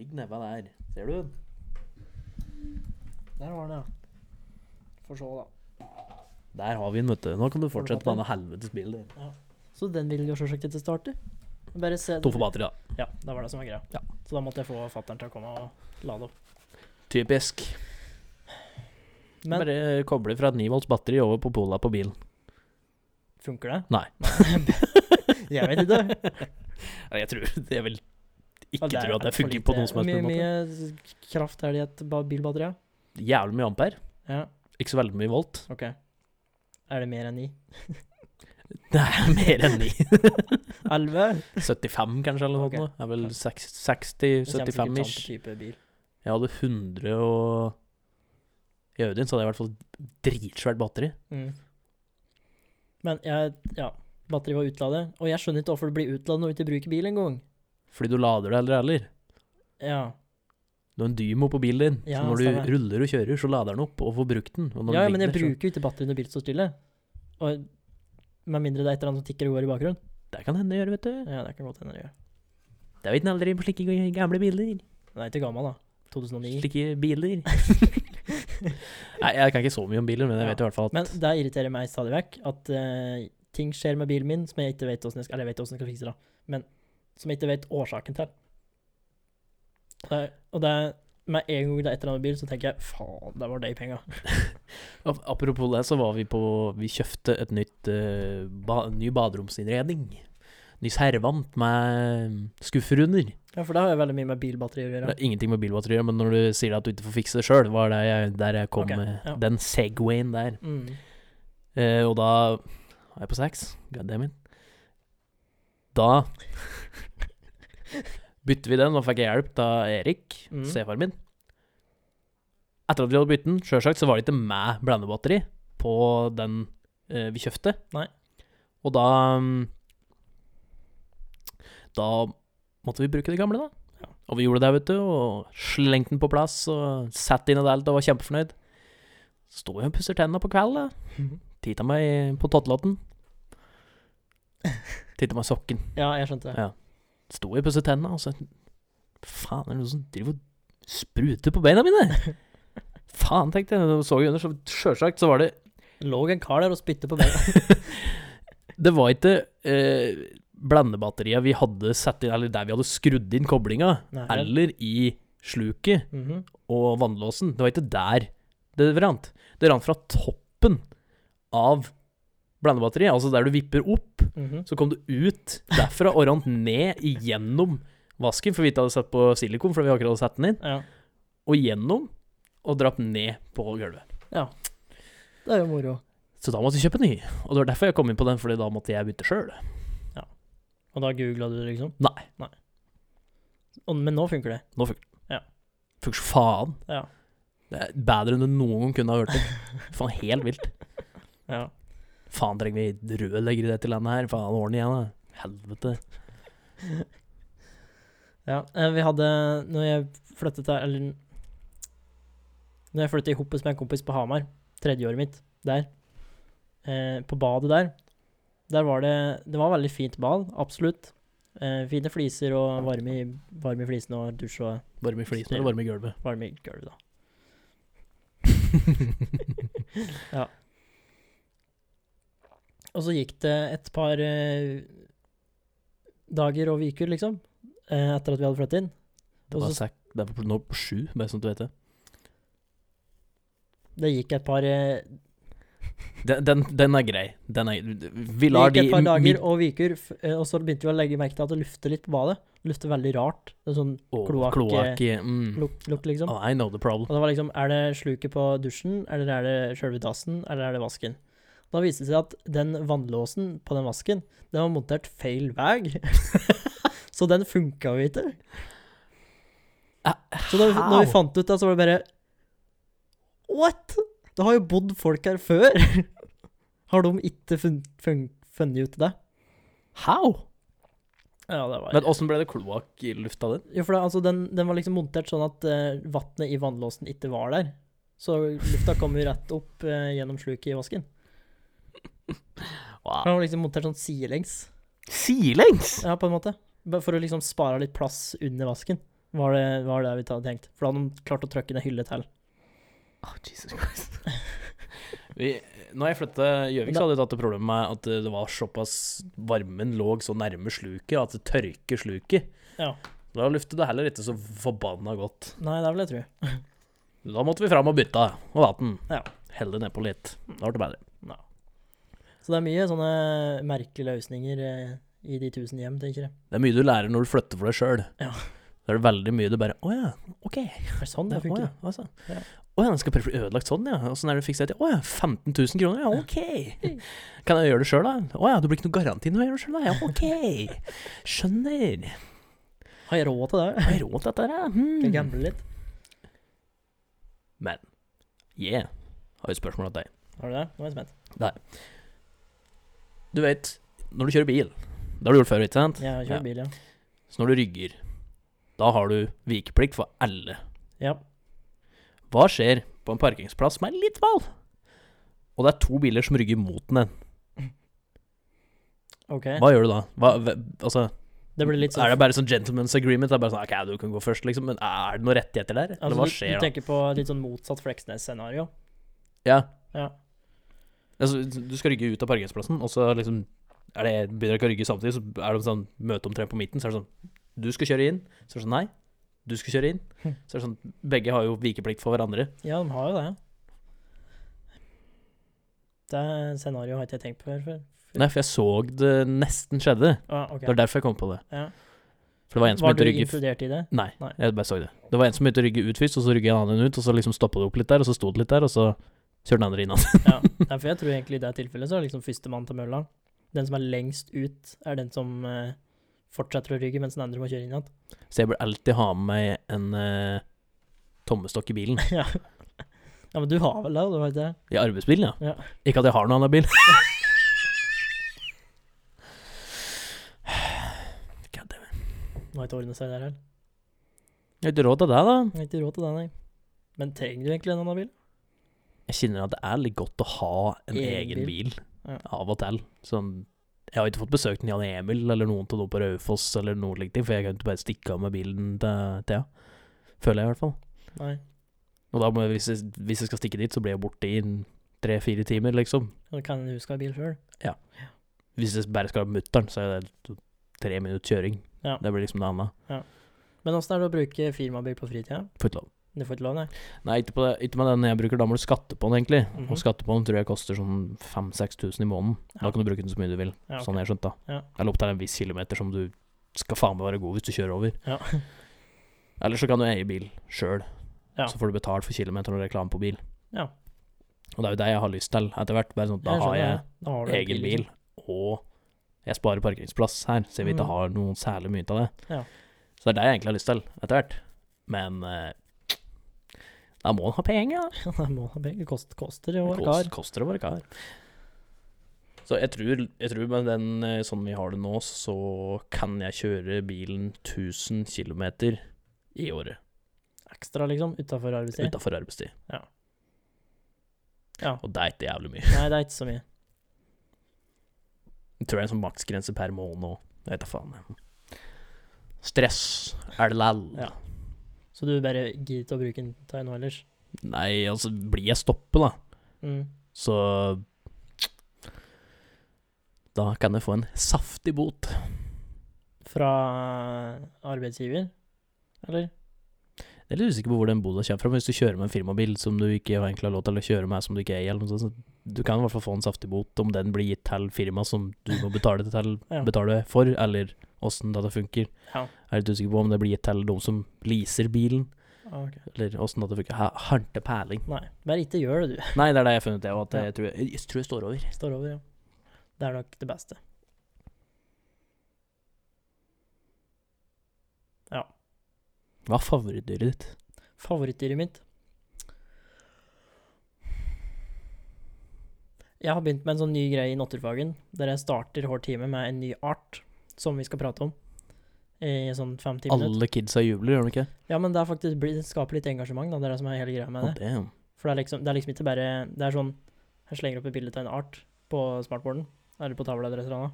Speaker 1: Ligg nebba der. Ser du den?
Speaker 2: Der var den, ja. Får se, da.
Speaker 1: Der har vi den, vet du. Nå kan du
Speaker 2: Får du
Speaker 1: fortsette
Speaker 2: papir?
Speaker 1: med denne helvetes bilen din.
Speaker 2: Så den ville jo selvsagt ikke starte. Bare se
Speaker 1: Tom for batteri, da.
Speaker 2: Ja, det var det som var greia.
Speaker 1: Ja.
Speaker 2: Så da måtte jeg få fattern til å komme og lade opp.
Speaker 1: Typisk.
Speaker 2: Men
Speaker 1: Bare koble fra et 9 volts batteri over på pola på bilen.
Speaker 2: Funker det?
Speaker 1: Nei.
Speaker 2: jeg vet ikke.
Speaker 1: Nei, Jeg tror det er vel ikke
Speaker 2: Ja, er
Speaker 1: tror at det
Speaker 2: altfor
Speaker 1: funker på
Speaker 2: lite.
Speaker 1: noen som helst
Speaker 2: Hvor
Speaker 1: mulig måte.
Speaker 2: mye s- kraft er det i et ba- bilbatteri? da?
Speaker 1: Jævlig mye ampere.
Speaker 2: Ja,
Speaker 1: Ikke så veldig mye volt.
Speaker 2: OK. Er det mer enn ni?
Speaker 1: Det er mer enn 9.
Speaker 2: Elleve?
Speaker 1: 75 kanskje, eller noe
Speaker 2: Ok.
Speaker 1: sånt. nå. Det er vel seks-
Speaker 2: sånn
Speaker 1: 60-75-ish. Jeg hadde 100 og I Audien så hadde jeg i hvert fall dritsvært batteri.
Speaker 2: Mm. Men jeg Ja. Batteriet var utladet. Og jeg skjønner ikke hvorfor det blir utladet når du ikke bruker bil engang.
Speaker 1: Fordi du lader det heller heller.
Speaker 2: Ja.
Speaker 1: Du har en Dymo på bilen din,
Speaker 2: Ja,
Speaker 1: så når du
Speaker 2: stemmer.
Speaker 1: ruller og kjører, så lader den opp og får brukt den. Og når
Speaker 2: ja,
Speaker 1: den ligger
Speaker 2: men jeg
Speaker 1: der, så-
Speaker 2: bruker jo ikke batteri når bilen står stille. Og med mindre det er et eller annet som tikker og går i bakgrunnen.
Speaker 1: Det kan hende gjøre, vet du.
Speaker 2: Ja, det kan godt hende det gjør.
Speaker 1: Det vet en aldri på slike gamle biler.
Speaker 2: Den er ikke gammel, da. 2009.
Speaker 1: Slike biler. Nei, jeg kan ikke så mye om biler, men jeg vet i hvert fall at
Speaker 2: Men det irriterer meg stadig vekk at eh, ting skjer med bilen min som jeg ikke vet åssen jeg skal Eller jeg vet åssen jeg skal fikse, da. Men som jeg ikke vet årsaken til. Det er, og det er med en gang det er et eller annet med bil, så tenker jeg faen, der var de penga.
Speaker 1: Ap- Apropos det, så var vi på Vi kjøpte et nytt eh, ba, ny baderomsinnredning. Ny servant med skuffer under.
Speaker 2: Ja, for det har jo veldig mye med bilbatterier å
Speaker 1: Det
Speaker 2: gjøre.
Speaker 1: har ingenting med bilbatteri å gjøre, men når du sier at du ikke får fikse det sjøl, var det jeg, der jeg kom
Speaker 2: Ok,
Speaker 1: med
Speaker 2: ja.
Speaker 1: den Segwayen der.
Speaker 2: Mm.
Speaker 1: Eh, og da var jeg på seks. God damn it. Da bytter vi den, og fikk jeg hjelp av Erik,
Speaker 2: Mm.
Speaker 1: stefaren min. Etter at vi hadde byttet den, sjølsagt, så var det ikke med blandebatteri på den eh, vi kjøpte.
Speaker 2: Nei.
Speaker 1: Og da mm, Da måtte vi bruke det gamle, da.
Speaker 2: Ja.
Speaker 1: Og vi gjorde det, vet du, og slengte den på plass og satte inn i det alt og var kjempefornøyd. Sto jeg og pusser tenna på kvelden, da.
Speaker 2: Mm.
Speaker 1: Titta meg på tottelotten. Titta meg i sokken.
Speaker 2: Ja, jeg skjønte det.
Speaker 1: Sto jeg og pusset tenna, og så Faen, er det noen som driver og spruter på beina mine? Faen, tenkte jeg. Så jeg under, så sjølsagt så var det
Speaker 2: Lå en kar der og spytte på meg.
Speaker 1: Det var ikke eh, blandebatteriet vi hadde satt inn, eller der vi hadde skrudd inn koblinga,
Speaker 2: Nei, vel.
Speaker 1: eller i sluket
Speaker 2: Mhm.
Speaker 1: og vannlåsen. Det var ikke der det rant. Det rant fra toppen av blandebatteriet, altså der du vipper opp.
Speaker 2: Mhm.
Speaker 1: Så kom det ut derfra og rant ned igjennom vasken, for vi ikke hadde satt på silikon, for vi akkurat hadde satt den inn,
Speaker 2: Ja.
Speaker 1: og gjennom, og dratt ned på gulvet.
Speaker 2: Det er jo moro.
Speaker 1: Så da måtte jeg kjøpe ny, og det var derfor jeg kom inn på den, fordi da måtte jeg bytte sjøl.
Speaker 2: Og da googla du det, liksom?
Speaker 1: Nei.
Speaker 2: Nei. Og, men nå funker det.
Speaker 1: Nå funker
Speaker 2: Ja.
Speaker 1: Funker så faen.
Speaker 2: Ja.
Speaker 1: Det er bedre enn du noen gang kunne ha hørt om. Faen, helt vilt.
Speaker 2: Ja.
Speaker 1: Faen, trenger vi rørleggere i dette landet her? Faen, ordne igjen, da. Helvete.
Speaker 2: Ja, eh, vi hadde Når jeg flyttet til Eller Når jeg flyttet i hoppes med en kompis på Hamar, tredjeåret mitt der, eh, på badet der Der var det Det var veldig fint bad, absolutt. Eh, fine fliser og varme i, varme i flisene og dusj og
Speaker 1: Varme i flisen eller varme i gulvet?
Speaker 2: varme i gulvet, da. ja. Og så gikk det et par eh, dager og uker, liksom, eh, etter at vi hadde flyttet inn.
Speaker 1: Det
Speaker 2: Og
Speaker 1: var
Speaker 2: så-
Speaker 1: sek det var nå på sju, bare sånn at du vet det.
Speaker 2: Det gikk et par, eh,
Speaker 1: Den, den, den er grei. Den er Vi
Speaker 2: det
Speaker 1: lar
Speaker 2: gikk
Speaker 1: de
Speaker 2: et par dager
Speaker 1: mid-
Speaker 2: og uker, f- eh, og så begynte vi å legge merke til at det lufter litt på badet. Det lufter veldig rart. Det er sånn
Speaker 1: Å,
Speaker 2: kloakk-
Speaker 1: kloakk, mm.
Speaker 2: lukt, lukt liksom.
Speaker 1: Oh, I know the problem.
Speaker 2: Og det var liksom, er det sluket på dusjen, eller er det selve dassen, eller er det vasken? Da viste det seg at den vannlåsen på den vasken, den var montert feil vei. så den funka jo ikke.
Speaker 1: Ah,
Speaker 2: Så da vi, når
Speaker 1: how?
Speaker 2: vi fant ut det, så var det bare What?! Det har jo bodd folk her før! har de ikke fun- fun- funnet ut det?
Speaker 1: How?
Speaker 2: Ja, det var
Speaker 1: Men åssen ble det kloakk i lufta den?
Speaker 2: Jo, for det, altså, den, den var liksom montert sånn at uh, vannet i vannlåsen ikke var der. Så lufta kom jo rett opp eh, gjennom sluket i vasken. Den
Speaker 1: Wow.
Speaker 2: var liksom montert sånn sidelengs,
Speaker 1: Sidelengs!
Speaker 2: ja, på en måte. Bare For å liksom spare litt plass under vasken, var det, var det vi hadde tenkt. For da hadde de klart å trykke ned hylle til.
Speaker 1: Oh, Jesus Christ. Vi, når jeg flyttet til Gjøvik, så hadde jeg tatt det problemet med at eh, det var såpass Varmen lå så nærme sluket at det tørker sluket.
Speaker 2: Ja.
Speaker 1: Da luftet det heller ikke så forbanna godt.
Speaker 2: Nei, det vil jeg tro.
Speaker 1: Da måtte vi fram og bytte og vatten.
Speaker 2: Ja.
Speaker 1: Helle nedpå litt. Da ble det bedre.
Speaker 2: Ja. Så det er mye sånne merkelige løsninger eh, i de tusen hjem, tenker jeg.
Speaker 1: Det er mye du lærer når du flytter for deg sjøl.
Speaker 2: Ja.
Speaker 1: Da er det veldig mye du bare Å ja, OK.
Speaker 2: Er det sånn
Speaker 1: Det
Speaker 2: det
Speaker 1: er, å, ja,
Speaker 2: funker?
Speaker 1: altså.
Speaker 2: Ja.
Speaker 1: Å ja, den skal bare bli ødelagt sånn, ja. Åssen er det du fikser det til? Å ja, 15 000 kroner? Ja, OK. Kan jeg gjøre det sjøl, da? Å ja, det blir ikke noe garanti når jeg gjør det sjøl, da? Ja, OK. Skjønner.
Speaker 2: Har jeg råd til det?
Speaker 1: Har jeg råd til dette, her, da?
Speaker 2: Skal jeg
Speaker 1: Hmm.
Speaker 2: gamble litt?
Speaker 1: Men yeah, har jo et spørsmål til deg.
Speaker 2: Har du det? Nå er jeg spent.
Speaker 1: Du vet, når du kjører bil Det har du gjort før, ikke sant?
Speaker 2: Jeg har kjørt
Speaker 1: Ja.
Speaker 2: bil, ja.
Speaker 1: Så når du rygger, da har du vikeplikt for alle.
Speaker 2: Ja.
Speaker 1: Hva skjer på en parkeringsplass som er litt smal? Og det er to biler som rygger mot den.
Speaker 2: Ok.
Speaker 1: Hva gjør du da? Hva, hva- altså,
Speaker 2: Det blir litt sånn
Speaker 1: Er det bare sånn gentleman's agreement? Det er bare sånn, ok, du kan gå først, liksom. Men er det noen rettigheter der? Eller
Speaker 2: altså,
Speaker 1: hva
Speaker 2: du-
Speaker 1: skjer
Speaker 2: Du
Speaker 1: da?
Speaker 2: tenker på litt sånn motsatt Fleksnes-scenario.
Speaker 1: Ja.
Speaker 2: Ja.
Speaker 1: Altså, du skal rygge ut av parkeringsplassen, og så liksom er det, begynner dere å rygge samtidig, så er det sånn møte omtrent på midten, så er det sånn Du skal kjøre inn. Så er det sånn Nei, du skal kjøre inn.
Speaker 2: Hm.
Speaker 1: Så er det sånn Begge har jo vikeplikt for hverandre.
Speaker 2: Ja, de har jo det. Det scenarioet har ikke jeg tenkt på før.
Speaker 1: Nei, for jeg så det nesten skjedde.
Speaker 2: Ah, ok.
Speaker 1: Det er derfor jeg kom på det.
Speaker 2: Ja.
Speaker 1: For det var en som
Speaker 2: Var
Speaker 1: begynte
Speaker 2: du
Speaker 1: å rygge
Speaker 2: inkludert i det?
Speaker 1: Nei,
Speaker 2: Nei.
Speaker 1: jeg bare så det. Det var en som begynte å rygge ut først, og så rygget en annen ut, og så liksom stoppa det opp litt der, og så sto det litt der, og så kjørte den andre inn igjen.
Speaker 2: Ja. Nei, for jeg tror egentlig i det tilfellet så er liksom førstemann til mølla. Den som er lengst ut, er den som eh, fortsetter å rygge, mens den andre må kjøre inn igjen.
Speaker 1: Så jeg bør alltid ha med meg en eh, tommestokk i bilen.
Speaker 2: ja. ja, men du har vel det? Du har ikke det?
Speaker 1: I arbeidsbilen, ja.
Speaker 2: Ja.
Speaker 1: Ikke at jeg har noen annen bil. God damn.
Speaker 2: Du har ikke ordnet seg der heller.
Speaker 1: Jeg har ikke råd til det, da.
Speaker 2: Jeg har ikke råd til det, nei. Men trenger du egentlig en annen bil?
Speaker 1: Jeg kjenner at det er litt godt å ha en
Speaker 2: Egen
Speaker 1: egen bil,
Speaker 2: Ja.
Speaker 1: av og til. Sånn jeg har ikke fått besøkt Jan Emil eller noen til noe på Raufoss, eller noe likt, for jeg kan ikke bare stikke av med bilen til Thea. Føler jeg, i hvert fall.
Speaker 2: Nei.
Speaker 1: Og da må jeg, hvis, jeg, hvis jeg skal stikke dit, så blir jeg borte i en tre-fire timer, liksom.
Speaker 2: Du kan huske å ha bil sjøl.
Speaker 1: Hvis jeg bare skal ha mutter'n, så er det to- tre minutter kjøring.
Speaker 2: Ja.
Speaker 1: Det blir liksom noe annet.
Speaker 2: Men åssen er det å bruke firmabil på fritida?
Speaker 1: Får ikke lov.
Speaker 2: Du får ikke lov, nei?
Speaker 1: Nei, ikke, på det, ikke med den jeg bruker. Da må du skatte på den, egentlig.
Speaker 2: Mhm.
Speaker 1: Og skatte på den tror jeg koster sånn 5000-6000 i måneden. Da
Speaker 2: Ja.
Speaker 1: kan du bruke den så mye du vil,
Speaker 2: Ja, ok.
Speaker 1: sånn jeg skjønte. da.
Speaker 2: Ja.
Speaker 1: Eller opp til en viss kilometer som du skal faen meg være god hvis du kjører over.
Speaker 2: Ja.
Speaker 1: Eller så kan du eie bil sjøl,
Speaker 2: Ja.
Speaker 1: så får du betalt for kilometer og reklame på bil.
Speaker 2: Ja.
Speaker 1: Og det er jo det jeg har lyst til etter hvert. Bare sånn, at da
Speaker 2: Jeg
Speaker 1: har
Speaker 2: skjønner
Speaker 1: jeg
Speaker 2: det. Da har du en
Speaker 1: egen
Speaker 2: liksom.
Speaker 1: bil, og jeg sparer parkeringsplass her, så jeg vil ikke
Speaker 2: Mm.
Speaker 1: ha noen særlig mye av det.
Speaker 2: Ja.
Speaker 1: Så det er det jeg egentlig har lyst til, etter hvert. Men eh, da må en ha penger.
Speaker 2: Ja, det liksom. må ha begge. Det kost, koster jo
Speaker 1: Det
Speaker 2: en
Speaker 1: kost,
Speaker 2: kar.
Speaker 1: koster å være kar. Så jeg tror, jeg tror med den eh, sånn vi har det nå, så kan jeg kjøre bilen 1000 km i året
Speaker 2: Ekstra, liksom, utafor arbeidstid.
Speaker 1: utafor arbeidstid.
Speaker 2: Ja. Ja.
Speaker 1: Og det er ikke jævlig mye.
Speaker 2: Nei, det er ikke så mye.
Speaker 1: Jeg tror det er en sånn maksgrense per måned òg. Jeg vet da faen. jeg. Stress er det lall.
Speaker 2: Ja. Så du bare gidder ikke å bruke den til nå ellers?
Speaker 1: Nei, altså, blir jeg stoppet, da,
Speaker 2: Mm.
Speaker 1: så Da kan jeg få en saftig bot.
Speaker 2: Fra eh, arbeidsgiver, eller?
Speaker 1: Jeg er litt usikker på hvor den bota kommer fra, men hvis du kjører med en firmabil som du ikke har egentlig har lov til å kjøre med, som du ikke eier, eller noe sånt, så du kan i hvert fall få en saftig bot om den blir gitt til firma som du må betale, til,
Speaker 2: Ja.
Speaker 1: betale for, eller åssen dette funker.
Speaker 2: Ja.
Speaker 1: Jeg er litt usikker på om det blir gitt til de som leaser bilen,
Speaker 2: Ah, ok.
Speaker 1: eller åssen dette funker. Ha- Harte peiling.
Speaker 2: Nei, bare ikke gjør det,
Speaker 1: Nei, det er det jeg har funnet, jeg, og at
Speaker 2: Ja.
Speaker 1: jeg, tror, jeg, jeg tror jeg står over.
Speaker 2: du. Står over, ja. Det er nok det beste.
Speaker 1: Hva er favorittdyret ditt?
Speaker 2: Favorittdyret mitt? Jeg har begynt med en sånn ny greie i naturfagen, der jeg starter hver time med en ny art som vi skal prate om. I sånn fem-ti minutter.
Speaker 1: Alle kidsa jubler, gjør de ikke?
Speaker 2: Ja, men det, er faktisk, blir- det skaper litt engasjement, da. Det er det som er hele greia med
Speaker 1: Oh,
Speaker 2: det.
Speaker 1: damn.
Speaker 2: For det er liksom, det er liksom ikke bare Det er sånn Jeg slenger opp et bilde av en art på smartboarden, eller på tavla eller et eller annet,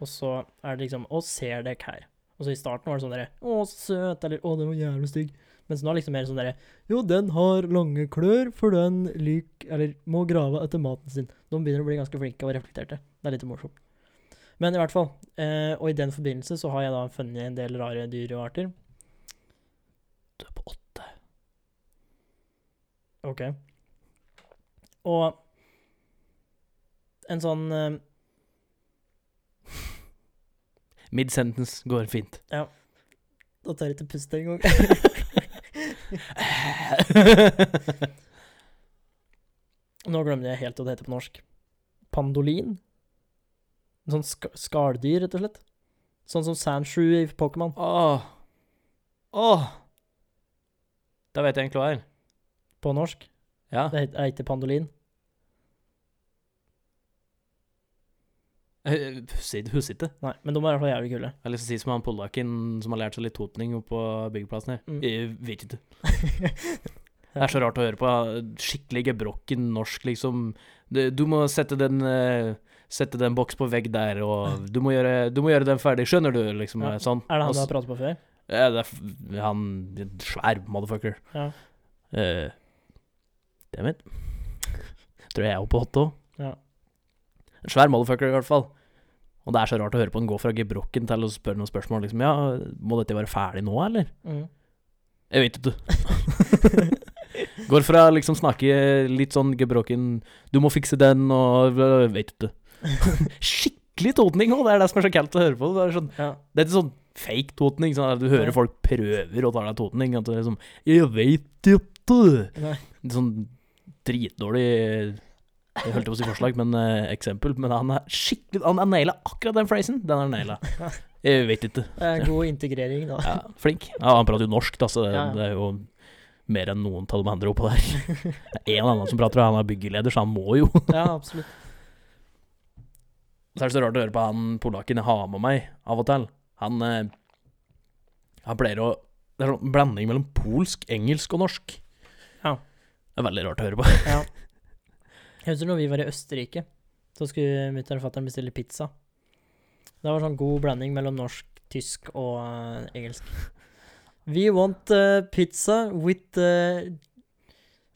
Speaker 2: og så er det liksom Å, ser dere her? Og så i starten var det sånn derre Å, så søt, eller Å, den var jævlig stygg. Mens nå er det liksom mer sånn derre Jo, den har lange klør, for den lik Eller må grave etter maten sin. De begynner å bli ganske flinke og reflekterte. Det er litt morsomt. Men i hvert fall. Eh, og i den forbindelse så har jeg da funnet en del rare dyr og arter.
Speaker 1: Du er på åtte.
Speaker 2: Ok. Og en sånn eh,
Speaker 1: Mid-sentence går fint.
Speaker 2: Da tør jeg ikke puste engang. Nå glemte jeg helt hva det heter på norsk. Pandolin? En sånn sk skaldyr, rett og slett. Sånn som Sandshoe i Pokémon.
Speaker 1: Åh. Åh. Da vet jeg egentlig hva det er.
Speaker 2: På norsk.
Speaker 1: Ja.
Speaker 2: Det het- er ikke pandolin.
Speaker 1: Jeg husker ikke- husker ikke.
Speaker 2: Nei, men de er i hvert fall jævlig kule.
Speaker 1: Jeg har lyst til å si som han polakken som har lært seg litt totning oppe på byggeplassen her.
Speaker 2: Mm.
Speaker 1: Jeg vet ikke. Det er så rart å høre på. Skikkelig gebrokken norsk, liksom. Du du må sette den eh, Sette den boks på vegg der, og du må gjøre, du må gjøre den ferdig, skjønner du, liksom.
Speaker 2: Ja.
Speaker 1: Sånn.
Speaker 2: Er det han
Speaker 1: Og
Speaker 2: du
Speaker 1: så-
Speaker 2: har pratet på før?
Speaker 1: Ja, det er f- han en svær motherfucker.
Speaker 2: Ja.
Speaker 1: Uh, Dammit. Tror jeg er oppe på hotte òg.
Speaker 2: Ja.
Speaker 1: En svær motherfucker, i hvert fall. Og det er så rart å høre på han gå fra gebrokken til å spørre noen spørsmål. Liksom, ja, må dette være ferdig nå, eller?
Speaker 2: Mm.
Speaker 1: Jeg vet ikke. Går fra liksom snakke litt sånn gebrokken Du må fikse den, og jeg vet ikke. Skikkelig totning òg, det er det som er så kaldt å høre på. Det er sånn
Speaker 2: Ja.
Speaker 1: det er ikke sånn fake totning. Sånn at du hører
Speaker 2: Nei.
Speaker 1: folk prøver å ta deg totning. At det er sånn 'Jeg veit ikke'.
Speaker 2: Nei.
Speaker 1: Det er Sånn dritdårlig Jeg holdt på å si forslag, men eh, eksempel. Men han er skikkelig Han er naila akkurat den phrasen. Den er naila. Jeg vet ikke.
Speaker 2: Det er god integrering, da.
Speaker 1: Ja, flink. Ja, han prater jo norsk, da, så det,
Speaker 2: Ja, ja.
Speaker 1: det er jo mer enn noen av de andre oppå der. Det er en annen som prater, og han er byggeleder, så han må jo.
Speaker 2: Ja, absolutt.
Speaker 1: Så er det så rart å høre på han polakken jeg har med meg av og til. Han, eh, han pleier å Det er sånn blanding mellom polsk, engelsk og norsk.
Speaker 2: Ja.
Speaker 1: Det er veldig rart å høre på.
Speaker 2: Ja. Jeg husker når vi var i Østerrike, så skulle mutter'n og fatter'n bestille pizza. Det var sånn god blanding mellom norsk, tysk og eh, engelsk. We want eh, pizza with eh,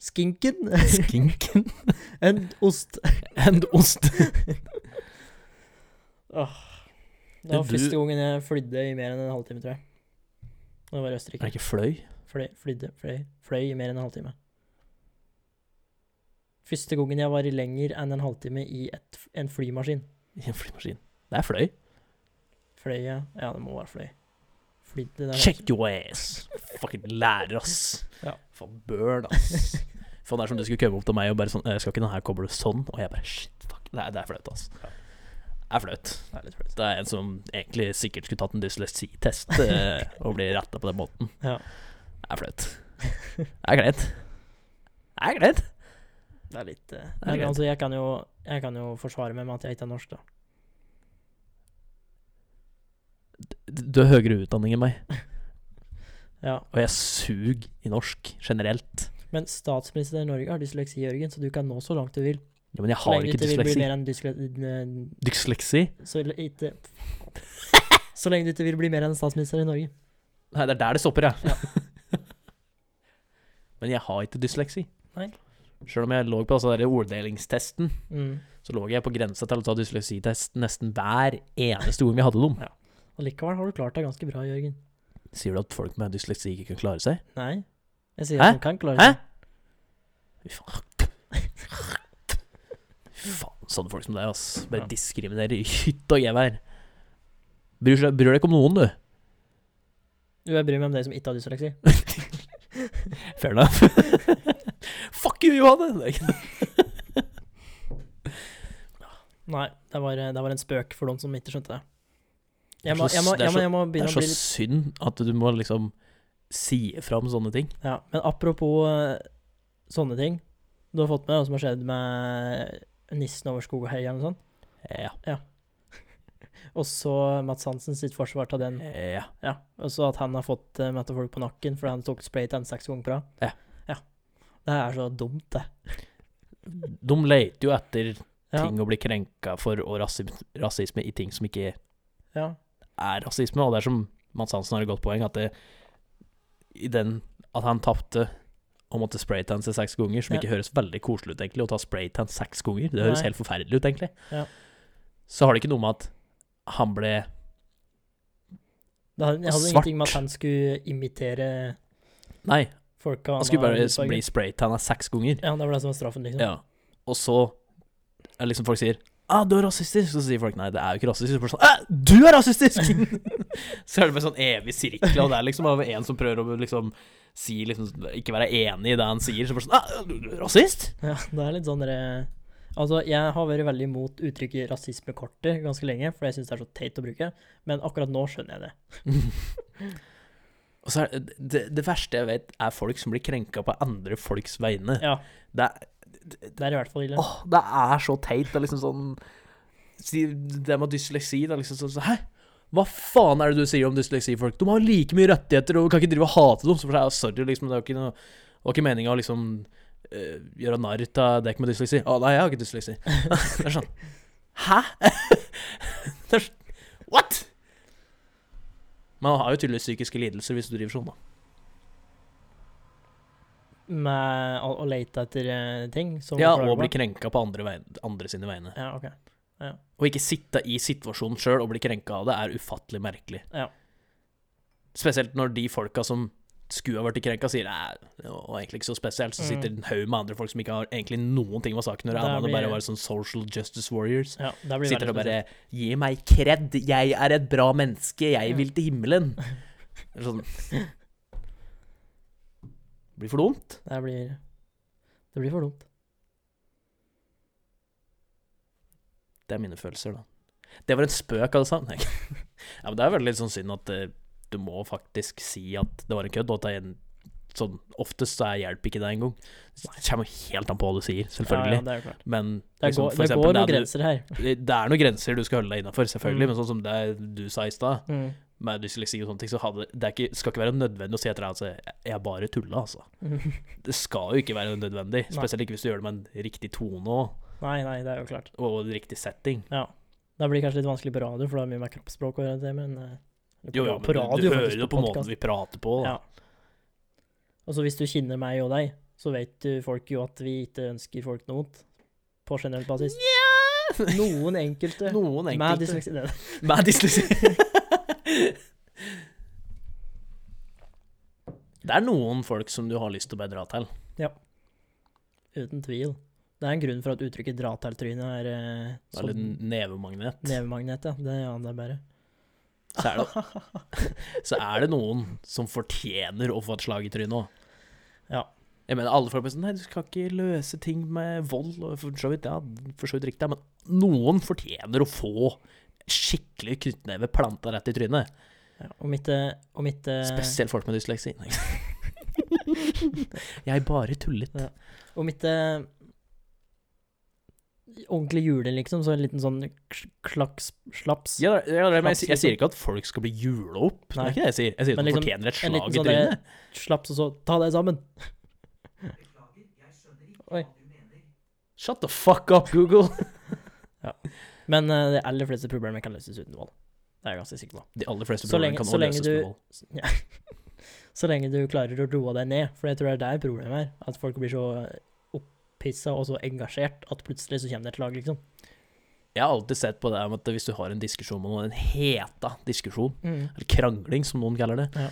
Speaker 2: skinken
Speaker 1: Skinken
Speaker 2: and ost.
Speaker 1: and ost.
Speaker 2: Det var
Speaker 1: Du-
Speaker 2: første gangen jeg flydde i mer enn en halvtime, tror jeg. Det var i
Speaker 1: Er det
Speaker 2: Østerrike.
Speaker 1: ikke fløy?
Speaker 2: Fløy, flydde, fløy, fløy i mer enn en halvtime. Første gangen jeg var i lenger enn en halvtime i et, en flymaskin.
Speaker 1: I en flymaskin. Det er fløy.
Speaker 2: Fløy, ja. Ja, det må være fløy. Flydde, det er-
Speaker 1: Check your ass. Fucking lærer, ass.
Speaker 2: Ja.
Speaker 1: Faen burn, ass. Faen, det er som du skulle komme opp til meg og bare sånn «Eh, Skal ikke denne her koble sånn? Og jeg bare shit, fuck. Det er, det er flaut, ass.
Speaker 2: Ja.
Speaker 1: Det er flaut.
Speaker 2: Det er litt flaut.
Speaker 1: Det er en som egentlig sikkert skulle tatt en dysleksitest eh, og bli retta på den måten.
Speaker 2: Ja.
Speaker 1: Det er flaut. Det er kleint. Det er kleint.
Speaker 2: Det er litt eh,
Speaker 1: er
Speaker 2: Men
Speaker 1: greit.
Speaker 2: altså, jeg kan, jo, jeg kan jo forsvare meg med at jeg ikke er norsk, da.
Speaker 1: Du har høyere utdanning enn meg,
Speaker 2: Ja.
Speaker 1: og jeg suger i norsk generelt.
Speaker 2: Men statsministeren i Norge har dysleksi, Jørgen, så du kan nå så langt du vil.
Speaker 1: Ja, men jeg
Speaker 2: Så
Speaker 1: har
Speaker 2: lenge
Speaker 1: ikke
Speaker 2: du ikke vil bli
Speaker 1: dysleksi.
Speaker 2: mer enn dysle... eh,
Speaker 1: Dysleksi?
Speaker 2: Så, l- ikke, så lenge du ikke vil bli mer enn statsminister i Norge.
Speaker 1: Nei, det er der det stopper, ja. men jeg har ikke dysleksi.
Speaker 2: Nei.
Speaker 1: Sjøl om jeg lå på altså, den der orddelingstesten,
Speaker 2: Mm.
Speaker 1: så lå jeg på grensa til å ta dysleksitest nesten hver eneste gang vi hadde dem.
Speaker 2: Og likevel har du klart deg ganske bra, Jørgen.
Speaker 1: Sier du at folk med dysleksi ikke kan klare seg?
Speaker 2: Nei. Jeg sier
Speaker 1: Hæ?
Speaker 2: at du kan klare
Speaker 1: Hæ?
Speaker 2: det.
Speaker 1: Fy faen. Fy faen, sånne folk som deg, ass. Bare
Speaker 2: Ja.
Speaker 1: diskriminerer i hytte og gevær. Bryr, seg- bryr deg ikke om noen, du.
Speaker 2: Jo, jeg bryr meg om deg som ikke har dysleksi.
Speaker 1: Fair enough. Fuck you, Johanne! Det er ikke-
Speaker 2: Nei, det var, eh, det var en spøk for noen som ikke skjønte det.
Speaker 1: Det er
Speaker 2: Jeg må,
Speaker 1: så-
Speaker 2: jeg må,
Speaker 1: det er
Speaker 2: jeg må,
Speaker 1: så-
Speaker 2: jeg må
Speaker 1: Det er
Speaker 2: begynne å
Speaker 1: så
Speaker 2: bli litt
Speaker 1: synd at du må liksom si fra om sånne ting.
Speaker 2: ja. Men apropos eh, sånne ting. Du har fått med deg hva som har skjedd med nissen over skog og hei, eller noe sånt.
Speaker 1: Ja.
Speaker 2: Og så Mats Hansen sitt forsvar til den.
Speaker 1: ja.
Speaker 2: Ja. Og så at han har fått uh, møte folk på nakken fordi han tok spray til en seks ganger på rad.
Speaker 1: Ja.
Speaker 2: ja. Det er så dumt, det.
Speaker 1: De leter jo etter
Speaker 2: Ja.
Speaker 1: ting å bli krenka for, og rasisme, rasisme i ting som ikke
Speaker 2: Ja.
Speaker 1: er rasisme, og det er som Mads Hansen har et godt poeng, at det, i den at han tapte og måtte spraytanse seks ganger, som
Speaker 2: Ja.
Speaker 1: ikke høres veldig koselig ut, egentlig, å ta spraytan seks ganger. Det høres
Speaker 2: Nei.
Speaker 1: helt forferdelig ut, egentlig.
Speaker 2: Ja.
Speaker 1: Så har det ikke noe med at han ble
Speaker 2: Det hadde, jeg hadde
Speaker 1: Svart.
Speaker 2: ingenting med at han skulle imitere
Speaker 1: Nei,
Speaker 2: folka.
Speaker 1: han skulle bare
Speaker 2: hudfarge.
Speaker 1: bli spraytanna seks ganger.
Speaker 2: Ja, det var det som var straffen, liksom.
Speaker 1: Ja. Og så er det liksom folk sier ah, 'Du er rasistisk.' Så sier folk 'Nei, det er jo ikke rasistisk.' Så bare sånn, «Æ, 'Du er rasistisk!' så er det bare sånn evig sirkel, og det er liksom av en som prøver å liksom si liksom, Ikke være enig i det han sier, så bare sånn «Æ, du, du er 'Rasist?'
Speaker 2: Ja, det er litt sånn dere Altså, jeg har vært veldig imot uttrykket rasismekortet ganske lenge, for jeg syns det er så teit å bruke, men akkurat nå skjønner jeg det.
Speaker 1: Og så er det, det, det verste jeg vet, er folk som blir krenka på andre folks vegne.
Speaker 2: Ja,
Speaker 1: Det er
Speaker 2: det er i hvert fall ille.
Speaker 1: Åh, det er så teit. Det er liksom sånn si- Det med dysleksi, det er liksom sånn så, Hæ? Hva faen er det du sier om dysleksifolk? De har like mye rettigheter, og du kan ikke drive og hate dem. Så for seg, ja, sorry, liksom, det var ikke, noe- det var ikke meninga å liksom eh, gjøre narr av deg med dysleksi. Å nei, jeg har ikke dysleksi. det er sånn Hæ? det er sånn What? Man har jo tydeligvis psykiske lidelser hvis du driver sånn, da.
Speaker 2: Med å, å lete etter eh, ting som
Speaker 1: Ja,
Speaker 2: klager
Speaker 1: og
Speaker 2: på.
Speaker 1: bli krenka på andre, vegne, andre sine vegne.
Speaker 2: Ja, ok.
Speaker 1: Å ikke sitte i situasjonen sjøl og bli krenka av det, er ufattelig merkelig.
Speaker 2: Ja.
Speaker 1: Spesielt når de folka som skulle ha vært krenka, sier Nei, det var egentlig ikke så spesielt. Så
Speaker 2: Mm.
Speaker 1: sitter en haug med andre folk som ikke har egentlig noen ting med saken å gjøre,
Speaker 2: Det
Speaker 1: annet enn å
Speaker 2: blir-
Speaker 1: bare være sånn social justice warriors.
Speaker 2: Ja, det blir
Speaker 1: Sitter
Speaker 2: veldig
Speaker 1: og
Speaker 2: spesielt.
Speaker 1: bare Gi meg kred, jeg er et bra menneske, jeg vil til himmelen. Eller Sånn. Det blir for dumt.
Speaker 2: Det blir Det blir for dumt.
Speaker 1: Det er mine følelser, da. Det var en spøk, alle sammen. Nei. ja, men det er veldig litt sånn synd at eh, du må faktisk si at det var en kødd, og at det er en sånn Oftest så er hjelp ikke det engang. Det kommer jo helt an på hva du sier,
Speaker 2: Ja,
Speaker 1: selvfølgelig.
Speaker 2: ja, det er jo klart.
Speaker 1: Men
Speaker 2: Det,
Speaker 1: liksom, for
Speaker 2: går, det
Speaker 1: eksempel,
Speaker 2: går noen
Speaker 1: det er du-
Speaker 2: grenser her.
Speaker 1: det er noen grenser du skal holde deg innafor, selvfølgelig,
Speaker 2: Mm.
Speaker 1: men sånn som det du sa i stad,
Speaker 2: Mm.
Speaker 1: med dysleksi og sånne ting, så hadde, det er ikke, skal ikke være nødvendig å si etter deg altså, jeg- jeg bare tulla, altså. Det skal jo ikke være nødvendig,
Speaker 2: Nei.
Speaker 1: spesielt ikke hvis du gjør det med en riktig tone og,
Speaker 2: Nei, nei, det er jo klart.
Speaker 1: og en riktig setting.
Speaker 2: Det blir kanskje litt vanskelig på radio, for det er mye mer kroppsspråk å gjøre det, men eh, på-
Speaker 1: Jo, jo,
Speaker 2: på
Speaker 1: men du,
Speaker 2: radio,
Speaker 1: du
Speaker 2: faktisk,
Speaker 1: hører jo på
Speaker 2: podcast.
Speaker 1: måten vi prater på. Da.
Speaker 2: Ja. Og så hvis du kjenner meg og deg, så vet du folk jo at vi ikke ønsker folk noe vondt. På generell basis. Noen enkelte.
Speaker 1: Noen
Speaker 2: Med
Speaker 1: enkelte.
Speaker 2: dysleksi. Nei,
Speaker 1: Med dysleksi. det er noen folk som du har lyst til å bare dra til.
Speaker 2: Uten tvil. Det er en grunn for at uttrykket 'dra til trynet' er eh,
Speaker 1: Det er litt
Speaker 2: sånn
Speaker 1: nevemagnet.
Speaker 2: nevemagnet, ja. Det aner jeg bare.
Speaker 1: Så er, det, så er det noen som fortjener å få et slag i trynet òg.
Speaker 2: Ja.
Speaker 1: Jeg mener, alle folk er sånn Nei, du skal ikke løse ting med vold. Og for så vidt, ja, for så vidt riktig, men noen fortjener å få skikkelig knyttneve planta rett i trynet.
Speaker 2: Ja, om ikke, om ikke
Speaker 1: Spesielt folk med dysleksi. Nei. Jeg bare tullet.
Speaker 2: Ja. Om ikke ordentlig juling, liksom, så en liten sånn kl- klaks slaps.
Speaker 1: Ja, det er- ja, det er- men jeg, sier- jeg sier ikke at folk skal bli jula opp. Det
Speaker 2: Nei.
Speaker 1: er ikke det jeg sier. Jeg sier at
Speaker 2: Men
Speaker 1: de
Speaker 2: liksom,
Speaker 1: fortjener et
Speaker 2: en
Speaker 1: slag
Speaker 2: liten
Speaker 1: i
Speaker 2: sånn der-
Speaker 1: trynet.
Speaker 2: Slaps, og så ta deg sammen. Oi.
Speaker 1: Shut the fuck up, Google!
Speaker 2: Men eh, de aller fleste problemer kan løses uten vold. Det er jeg ganske sikker på.
Speaker 1: De aller fleste
Speaker 2: Så
Speaker 1: problemene
Speaker 2: lenge-
Speaker 1: kan
Speaker 2: så
Speaker 1: også
Speaker 2: lenge
Speaker 1: løses
Speaker 2: du-
Speaker 1: med vold.
Speaker 2: Så lenge du klarer å roe deg ned, for jeg tror det er der problemet er. At folk blir så opphissa og så engasjert at plutselig så kommer det et lag, liksom.
Speaker 1: Jeg har alltid sett på det her med at hvis du har en diskusjon med noen, en heta diskusjon, eller krangling som noen kaller det,
Speaker 2: Ja.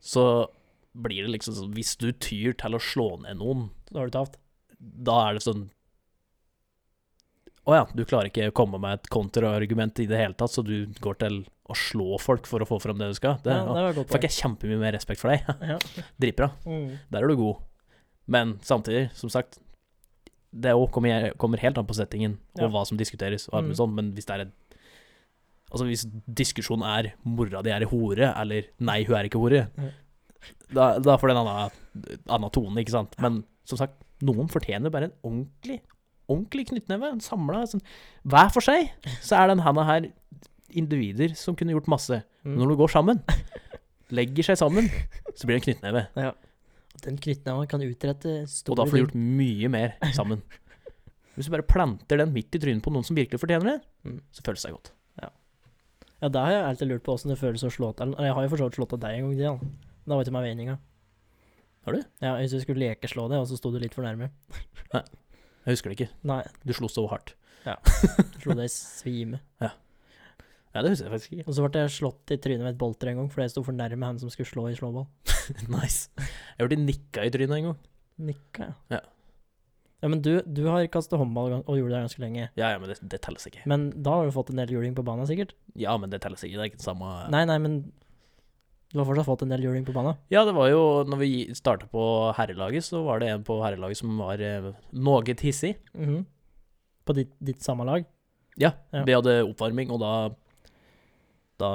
Speaker 1: så blir det liksom sånn Hvis du tyr til å slå ned noen,
Speaker 2: Så har du tapt.
Speaker 1: da er det sånn Å ja, du klarer ikke å komme med et kontraargument i det hele tatt, så du går til å slå folk for å få frem det du skal. Det,
Speaker 2: ja, det var et godt
Speaker 1: Fikk jeg kjempemye mer respekt for deg.
Speaker 2: Ja.
Speaker 1: Dritbra.
Speaker 2: Mm.
Speaker 1: Der er du god. Men samtidig, som sagt, det òg kommer, jeg- kommer helt an på settingen og
Speaker 2: Ja.
Speaker 1: hva som diskuteres. Og alt mulig
Speaker 2: Mm.
Speaker 1: sånn, men hvis det er en Altså hvis diskusjonen er 'mora di er ei hore', eller 'nei, hun er ikke hore',
Speaker 2: Mm.
Speaker 1: da, da får det en annen, annen tone, ikke sant. Men som sagt, noen fortjener bare en ordentlig ordentlig knyttneve. En samla sånn. Hver for seg så er den handa her individer som kunne gjort masse.
Speaker 2: Mm.
Speaker 1: Men når du går sammen, legger seg sammen, så blir det en knyttneve.
Speaker 2: Den knyttneven kan utrette
Speaker 1: Og
Speaker 2: store
Speaker 1: da får du
Speaker 2: ting.
Speaker 1: gjort mye mer sammen. Hvis du bare planter den midt i trynet på noen som virkelig fortjener det,
Speaker 2: Mm.
Speaker 1: så føles det godt.
Speaker 2: Ja, det har jeg alltid lurt på åssen det føles å slå til Eller, Jeg har jo for så vidt slått av deg en gang, Dian. Da var ikke meg meninga.
Speaker 1: Har du?
Speaker 2: Ja, jeg husker du skulle lekeslå det, og så sto du litt for nærme.
Speaker 1: Jeg husker det ikke.
Speaker 2: Nei,
Speaker 1: Du slo så hardt.
Speaker 2: du slo deg i svime.
Speaker 1: Ja, det husker jeg faktisk ikke.
Speaker 2: Og så ble jeg slått i trynet med et bolter en gang fordi jeg sto for nærme han som skulle slå i slåball.
Speaker 1: nice. Jeg ble nikka i trynet en gang.
Speaker 2: Nikka,
Speaker 1: Ja.
Speaker 2: Ja, men du, du har kastet håndball gan- og gjorde det ganske lenge.
Speaker 1: Ja, ja, men det, det telles ikke.
Speaker 2: Men da har du fått en del juling på banen, sikkert?
Speaker 1: Ja, men det telles ikke. Det er ikke det samme
Speaker 2: Nei, nei, men du har fortsatt fått en del juling på banen.
Speaker 1: Ja, det var jo Når vi starta på herrelaget, så var det en på herrelaget som var eh, noe hissig.
Speaker 2: Mhm. På ditt, ditt samme lag?
Speaker 1: Ja,
Speaker 2: Ja.
Speaker 1: vi hadde oppvarming, og da Da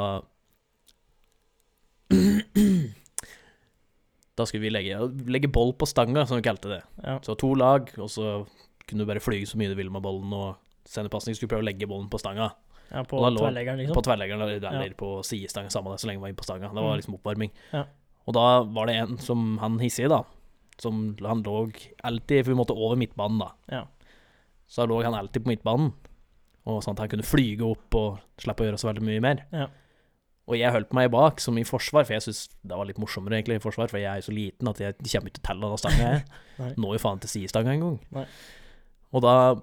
Speaker 1: Da skulle vi legge, legge boll på stanga, som vi kalte det.
Speaker 2: Ja.
Speaker 1: Så to lag, og så kunne du bare flyge så mye du ville med bollen, og sendepasning skulle prøve å legge bollen på stanga.
Speaker 2: ja på
Speaker 1: Og da lå-
Speaker 2: tverrleggeren, liksom?
Speaker 1: På tverrleggeren eller,
Speaker 2: Ja.
Speaker 1: eller på sidestanga, samme det, så lenge man var inne på stanga. Det
Speaker 2: Mm.
Speaker 1: var liksom oppvarming.
Speaker 2: Ja.
Speaker 1: Og da var det en som han hissige, da. Som han lå alltid For vi måtte over midtbanen, da.
Speaker 2: Ja.
Speaker 1: Så da lå han alltid på midtbanen. Og sånn at han kunne flyge opp og slappe å gjøre så veldig mye mer.
Speaker 2: Ja.
Speaker 1: Og jeg holdt meg bak, som i forsvar, for jeg syns det var litt morsommere egentlig i forsvar, for jeg er jo så liten at jeg kommer ikke til å telle den stanga,
Speaker 2: Nei.
Speaker 1: jeg. Når jo faen til sidestanga engang.
Speaker 2: Nei.
Speaker 1: Og da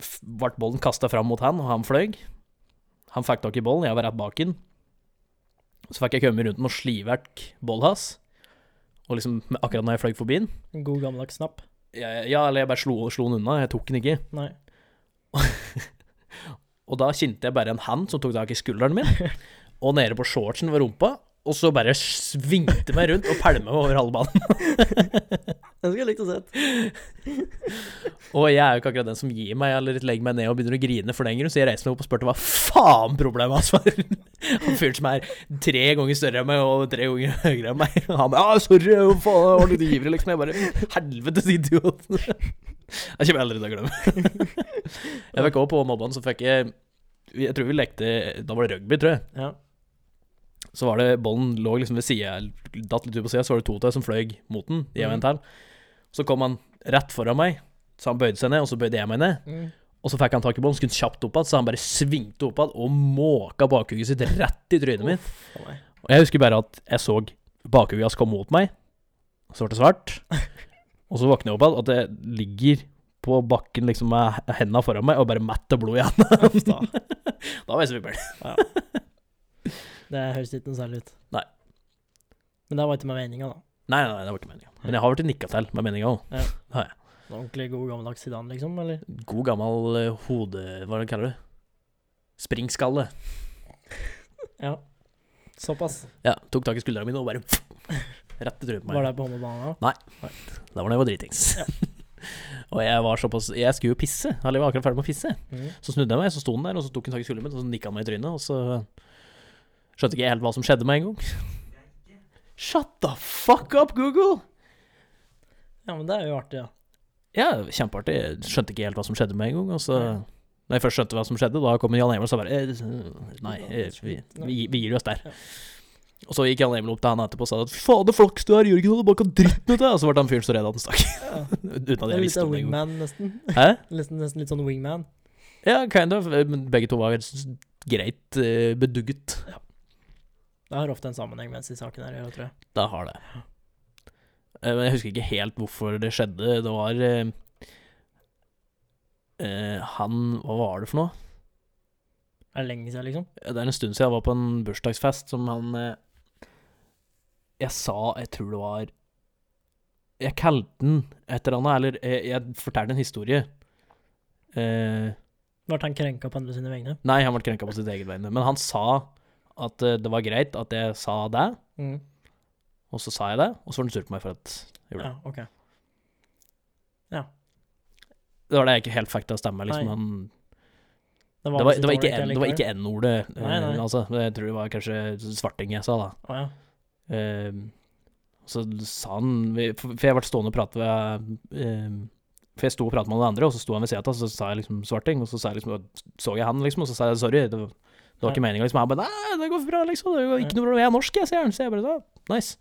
Speaker 1: f- ble bollen kasta fram mot han, og han fløy. Han fikk tak i bollen, jeg var rett bak han. Så fikk jeg komme rundt med og sliverk bollen hans. Og liksom med- akkurat når jeg fløy forbi han
Speaker 2: En god gammeldags snapp?
Speaker 1: jeg, Ja, eller jeg bare slo, slo han unna, jeg tok han ikke.
Speaker 2: Nei.
Speaker 1: Og da kjente jeg bare en hand som tok tak i skulderen min, og nede på shortsen ved rumpa, og så bare svingte meg rundt og pælma meg over halve banen.
Speaker 2: Jeg skulle likt å se.
Speaker 1: Og jeg er jo ikke akkurat den som gir meg eller legger meg ned og begynner å grine for den grunn, så jeg reiser meg opp og spurte hva faen problemet hans var. Han fyren som er tre ganger større enn meg og tre ganger høyere enn meg. Og han bare 'Å, sorry, hva faen, jeg var litt ivrig', liksom. Jeg bare 'Helvetes idiot'. Jeg kommer aldri til å glemme. Jeg fikk også på mobbaen, så fikk jeg Jeg tror vi lekte Da var det rugby, tror jeg.
Speaker 2: Ja.
Speaker 1: Så var det Bollen lå liksom ved sida, datt litt ut på sida, så var det to til som fløy mot den. Jeg og en til. Så kom han rett foran meg, så han bøyde seg ned, og så bøyde jeg meg ned.
Speaker 2: Mm.
Speaker 1: Og så fikk han tak i bollen, skulle kjapt opp igjen, så han bare svingte opp igjen og måka bakhugget sitt rett i trynet mitt.
Speaker 2: Uff, faen meg.
Speaker 1: Og jeg husker bare at jeg så bakhugget hans komme mot meg, så ble det svart. Og så våkner jeg opp igjen, at jeg ligger på bakken liksom med hendene foran meg og bare mett av blod i
Speaker 2: Uff da.
Speaker 1: hendene. da var jeg svimmel.
Speaker 2: Det høres ikke noe særlig ut.
Speaker 1: Nei.
Speaker 2: Men det var ikke med meninga, da.
Speaker 1: Nei, nei, nei, det var ikke meninga. Men jeg har blitt nikka til med meninga òg.
Speaker 2: Det var Ordentlig god gammeldags Zidane, liksom? Eller?
Speaker 1: God gammel eh, hode... Hva er det kaller du? Springskalle.
Speaker 2: Ja. Såpass.
Speaker 1: Ja, tok tak i skuldrene mine og bare rett i trynet på meg.
Speaker 2: Var det på håndballbanen òg?
Speaker 1: Da var det jeg var dritings. og jeg var såpass Jeg skulle jo pisse, eller jeg var akkurat ferdig med å pisse.
Speaker 2: Mm.
Speaker 1: Så snudde jeg meg, så sto han der, og så tok han tak i skulderen min, og så nikka han meg i trynet, og så skjønte ikke jeg helt hva som skjedde med en gang. Shut the fuck up, Google!
Speaker 2: Ja, men det er jo artig, ja.
Speaker 1: Ja, kjempeartig. Jeg Skjønte ikke helt hva som skjedde med en gang. Og så Når jeg først skjønte hva som skjedde, da kom Jan Emil og sa bare eh, Nei, eh, vi, vi, vi gir oss der.
Speaker 2: Ja.
Speaker 1: Og så gikk Jan Emil opp til han etterpå og sa at fy fader, flaks du er, Jørgen, og du bare kan dritten ut av deg. Og så ble han fyren så redd at han stakk.
Speaker 2: ja.
Speaker 1: Uten at
Speaker 2: Det er
Speaker 1: jeg
Speaker 2: litt
Speaker 1: visste
Speaker 2: av
Speaker 1: om det engang.
Speaker 2: wingman, nesten.
Speaker 1: Hæ?
Speaker 2: Nesten, nesten litt sånn wingman.
Speaker 1: Ja, kind of. Men begge to var s- greit eh, bedugget.
Speaker 2: Det har ofte en sammenheng med disse sakene her, tror jeg.
Speaker 1: Det har det. Eh, Men jeg husker ikke helt hvorfor det skjedde. Det var eh, eh, Han Hva var det for noe?
Speaker 2: Er det lenge siden, liksom?
Speaker 1: Det er en stund siden jeg var på en bursdagsfest som han eh, Jeg sa, jeg tror det var Jeg kalte den et eller annet, eller jeg, jeg fortalte en historie. Eh,
Speaker 2: Ble han krenka på andre sine vegne?
Speaker 1: nei, han ble krenka på sitt eget vegne, men han sa at eh, det var greit at jeg sa det,
Speaker 2: Mm.
Speaker 1: og så sa jeg det, og så var han sur på meg for at jeg gjorde det.
Speaker 2: Ja, ok.
Speaker 1: Det var det jeg ikke helt fikk til å stemme. Liksom,
Speaker 2: Nei.
Speaker 1: han, det,
Speaker 2: Det
Speaker 1: var, det, var
Speaker 2: litt
Speaker 1: ikke N-
Speaker 2: dårlig
Speaker 1: det var ikke N-ordet, eh,
Speaker 2: Nei, nei.
Speaker 1: altså. Jeg tror det var kanskje svarting jeg sa, da.
Speaker 2: likevel. Å, ja.
Speaker 1: Eh, så sa han vi- For for jeg ble stående og prate ved eh, For jeg sto og pratet med noen andre, og så sto han ved siden av, og så sa jeg liksom svarting, og så sa jeg liksom, så jeg han, liksom, og så sa jeg sorry, det, var- det var ikke meninga, liksom. Han bare nei, det går bra, liksom, det går ikke noe problem, jeg er norsk, jeg, sier han. Så jeg bare da, nice.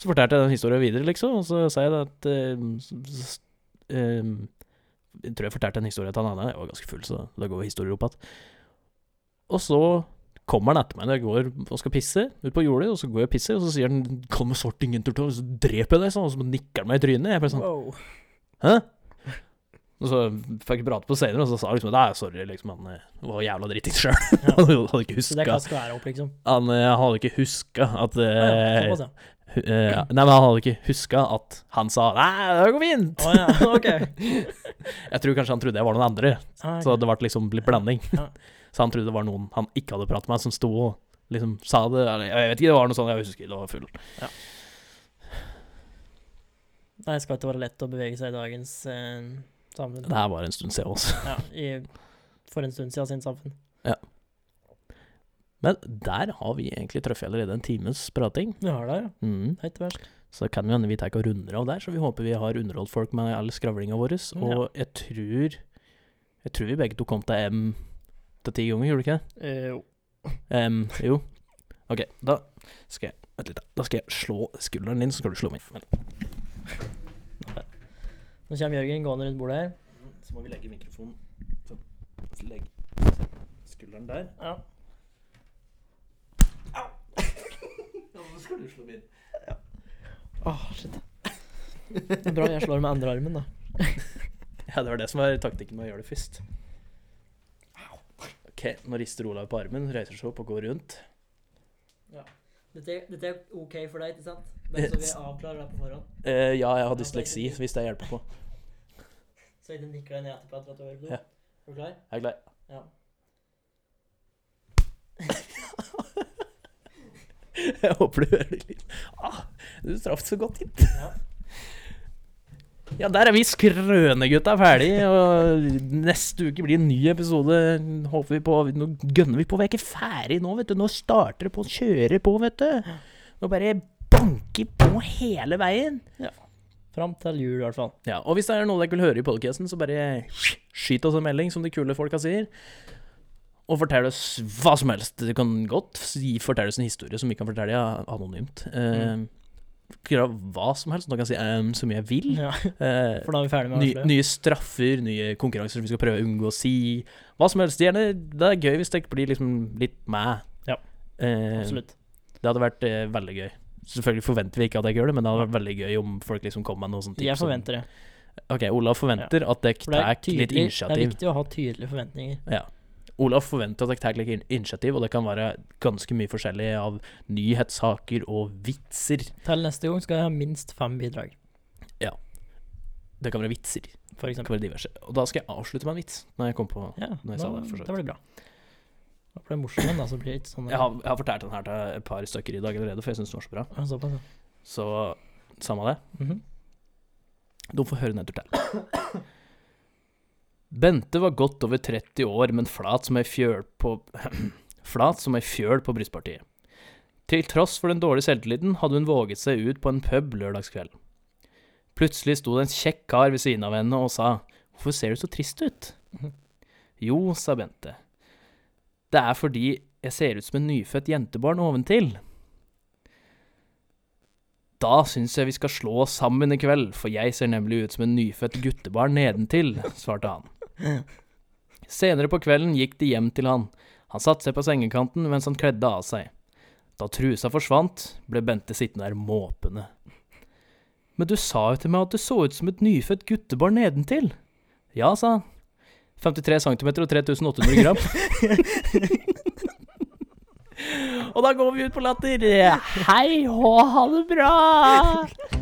Speaker 1: Så fortalte jeg den historien videre, liksom, og så sa jeg det at eh, s- s- eh, Jeg tror jeg fortalte en historie til han andre, jeg var ganske full, så da går historier opp igjen. Og så kommer han etter meg når jeg går og skal pisse ut på jordet, og så går jeg og pisser, og så sier han 'kom med sorting en tur til', og så dreper jeg deg, sånn, og så nikker han meg i trynet. Jeg bare sånn
Speaker 2: Wow.
Speaker 1: Hæ? Og så fikk jeg prate på senere, og så sa han liksom Nei, sorry, liksom, han eh, var jævla dritings sjøl.
Speaker 2: Ja.
Speaker 1: han hadde ikke
Speaker 2: Så det
Speaker 1: huska
Speaker 2: kan skvære opp, liksom.
Speaker 1: Han eh, hadde ikke huska at eh,
Speaker 2: Ja, såpass, ja.
Speaker 1: Hu- eh, nei, men han hadde ikke huska at han sa 'Nei, det går fint'.
Speaker 2: Å ja, ok.
Speaker 1: Jeg tror kanskje han trodde jeg var noen andre,
Speaker 2: Ah,
Speaker 1: så det ble liksom litt blanding.
Speaker 2: Ja.
Speaker 1: Så han trodde det var noen han ikke hadde pratet med, som sto og liksom sa det. Eller, jeg vet ikke, det var noe sånt, jeg husker det var full.
Speaker 2: Nei, det skal ikke være lett å bevege seg i dagens eh, samfunn.
Speaker 1: Det her var en stund siden også.
Speaker 2: Ja, i, for en stund siden sin samfunn.
Speaker 1: Men der har vi egentlig truffet allerede en times prating.
Speaker 2: Vi har det, ja.
Speaker 1: Mhm.
Speaker 2: Det er ikke verst.
Speaker 1: Så kan vi hende vi tar ikke og runder av der, så vi håper vi har underholdt folk med all skravlinga vår. Og jeg tror Jeg tror vi begge to kom til M til ti ganger, gjorde vi ikke? det?
Speaker 2: Eh, jo.
Speaker 1: Em, jo. OK, da skal jeg Vent litt, da. Da skal jeg slå skulderen din, så skal du slå min. Men,
Speaker 2: Nå kommer Jørgen gående rundt bordet her.
Speaker 1: så må vi legge mikrofonen sånn. Legg skulderen der.
Speaker 2: Ja.
Speaker 1: Ja, så skal du slå min.
Speaker 2: Åh, shit. Det er bra jeg slår med andre armen, da.
Speaker 1: Ja, det var det som var taktikken med å gjøre det først. OK, nå rister Olav på armen, reiser seg opp og går rundt.
Speaker 2: Dette, er OK for deg, ikke sant?
Speaker 1: Bare så vi
Speaker 2: avklarer det på forhånd.
Speaker 1: Eh, ja, jeg har dysleksi, så hvis det hjelper på.
Speaker 2: Så ikke nikker deg ned etterpå etter at du
Speaker 1: Ja.
Speaker 2: har Er du klar?
Speaker 1: Jeg er klar.
Speaker 2: Ja.
Speaker 1: Jeg håper du hører litt. Ah, du traff så godt hit.
Speaker 2: Ja.
Speaker 1: Ja, der er vi skrønegutta ferdig, og neste uke blir en ny episode. Håper vi på Nå gønner vi på. Vi er ikke ferdig nå, vet du. Nå starter det på å kjøre på, vet du. Nå bare banker på hele veien.
Speaker 2: Fram til jul, i hvert fall.
Speaker 1: Ja, og hvis det er noe dere vil høre i podcasten, så bare skyt oss en melding, som de kule folka sier. Og fortell oss hva som helst. Du kan godt si, fortelle oss en historie som vi kan fortelle ja, anonymt. Eh,
Speaker 2: Mm.
Speaker 1: Gjøre hva som helst. Nå kan jeg si ehm, så mye jeg vil.
Speaker 2: Ja,
Speaker 1: Eh,
Speaker 2: for da er vi ferdig med å
Speaker 1: ny,
Speaker 2: avsløre.
Speaker 1: nye straffer, nye konkurranser som vi skal prøve å unngå å si. Hva som helst. Gjerne, det er gøy hvis dere blir liksom litt med.
Speaker 2: Ja,
Speaker 1: Eh,
Speaker 2: Absolutt.
Speaker 1: Det hadde vært eh, veldig gøy. Selvfølgelig forventer vi ikke at dere gjør det, men det hadde vært veldig gøy om folk liksom kom med noen sånne tips.
Speaker 2: Jeg
Speaker 1: om-
Speaker 2: forventer det.
Speaker 1: Ok, Olav forventer at dere
Speaker 2: For det er,
Speaker 1: tar litt
Speaker 2: tydelig, det er
Speaker 1: initiativ.
Speaker 2: viktig å ha tydelige forventninger.
Speaker 1: Ja. Olav forventer at dere tar litt in- initiativ, og det kan være ganske mye forskjellig av nyhetssaker og vitser.
Speaker 2: Til neste gang skal jeg ha minst fem bidrag,
Speaker 1: Det kan være vitser.
Speaker 2: for
Speaker 1: Det
Speaker 2: eksempel.
Speaker 1: kan være diverse. Og da skal jeg avslutte med en vits. Når jeg kom på
Speaker 2: Ja,
Speaker 1: Når jeg
Speaker 2: da,
Speaker 1: sa det, for så
Speaker 2: det
Speaker 1: vidt.
Speaker 2: blir bra. Da blir det morsomt, da, så blir det ikke sånn
Speaker 1: Jeg har, jeg har fortalt den her til et par stykker i dag allerede, for jeg syns den var så bra.
Speaker 2: Ja, Såpass, ja.
Speaker 1: Så samme det.
Speaker 2: Mhm.
Speaker 1: De får høre den en tur til. Bente var godt over 30 år, men flat som ei fjøl på Flat som ei fjøl på brystpartiet. Til tross for den dårlige selvtilliten hadde hun våget seg ut på en pub lørdagskveld. Plutselig sto det en kjekk kar ved siden av henne og sa Hvorfor ser du så trist ut? Jo, sa Bente. Det er fordi jeg ser ut som en nyfødt jentebarn oventil. Da syns jeg vi skal slå oss sammen i kveld, for jeg ser nemlig ut som en nyfødt guttebarn nedentil, svarte han. Senere på kvelden gikk de hjem til han. Han satte seg på sengekanten mens han kledde av seg. Da trusa forsvant, ble Bente sittende der måpende. Men du sa jo til meg at du så ut som et nyfødt guttebarn nedentil. Ja, sa han. 53 cm og 3800 gram. og da går vi ut på latter. Hei og ha det bra!